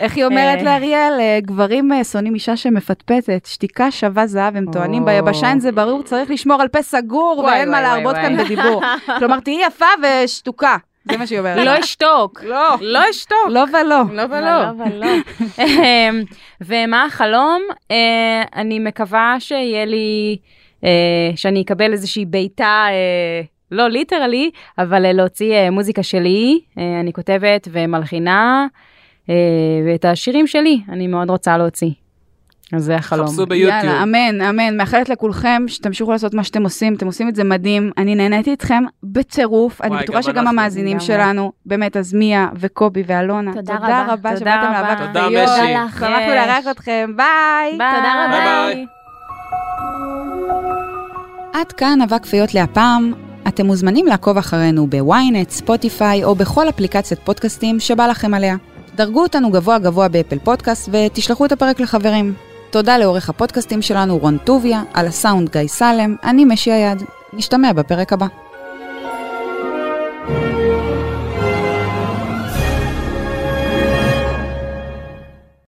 Speaker 2: איך היא אומרת
Speaker 5: אה.
Speaker 2: לאריאל? אה, גברים אה, שונאים אישה שמפטפטת, שתיקה שווה זהב, הם טוענים
Speaker 5: או.
Speaker 2: ביבשה, אין זה ברור, צריך לשמור על פה סגור,
Speaker 5: וואי,
Speaker 2: ואין מה
Speaker 5: וואי, וואי,
Speaker 2: להרבות כאן
Speaker 5: וואי.
Speaker 2: בדיבור. כלומר, תהיי יפה ושתוקה, זה מה שהיא אומרת.
Speaker 5: לא אשתוק.
Speaker 2: לא,
Speaker 5: לא אשתוק.
Speaker 2: לא ולא.
Speaker 5: לא ולא. אמ, ומה החלום? אה, אני מקווה שיהיה לי, אה, שאני אקבל איזושהי בעיטה, אה, לא ליטרלי, אבל אה, להוציא אה, מוזיקה שלי, אה, אני כותבת ומלחינה, אה, ואת השירים שלי אני מאוד רוצה להוציא. אז זה החלום.
Speaker 4: חפשו ביוטיוב.
Speaker 2: יאללה, אמן, אמן. מאחלת לכולכם שתמשיכו לעשות מה שאתם עושים, אתם עושים את זה מדהים. אני נהניתי איתכם בטירוף, אני
Speaker 4: וואי,
Speaker 2: בטוחה
Speaker 4: גם
Speaker 2: שגם
Speaker 4: אנחנו.
Speaker 2: המאזינים
Speaker 5: לגמרי.
Speaker 2: שלנו, באמת, אז מיה וקובי ואלונה,
Speaker 3: תודה
Speaker 2: תודה
Speaker 3: רבה.
Speaker 2: רבה
Speaker 5: תודה
Speaker 2: שבאתם
Speaker 5: רבה.
Speaker 2: לאבק
Speaker 4: תודה,
Speaker 2: חיות.
Speaker 4: משי.
Speaker 3: תודה לך.
Speaker 2: שמחנו לארח אתכם, ביי.
Speaker 5: ביי.
Speaker 3: תודה רבה.
Speaker 4: ביי.
Speaker 2: עד כאן אבק פיות להפעם. אתם מוזמנים לעקוב אחרינו בוויינט, ספוטיפיי או בכל אפליקציית פודקאסטים שבא לכם עליה. דרגו אותנו גבוה גבוה באפל פודקאסט ותשלחו את הפרק לחברים. תודה לעורך הפודקאסטים שלנו רון טוביה, על הסאונד גיא סלם, אני משי היד. נשתמע בפרק הבא.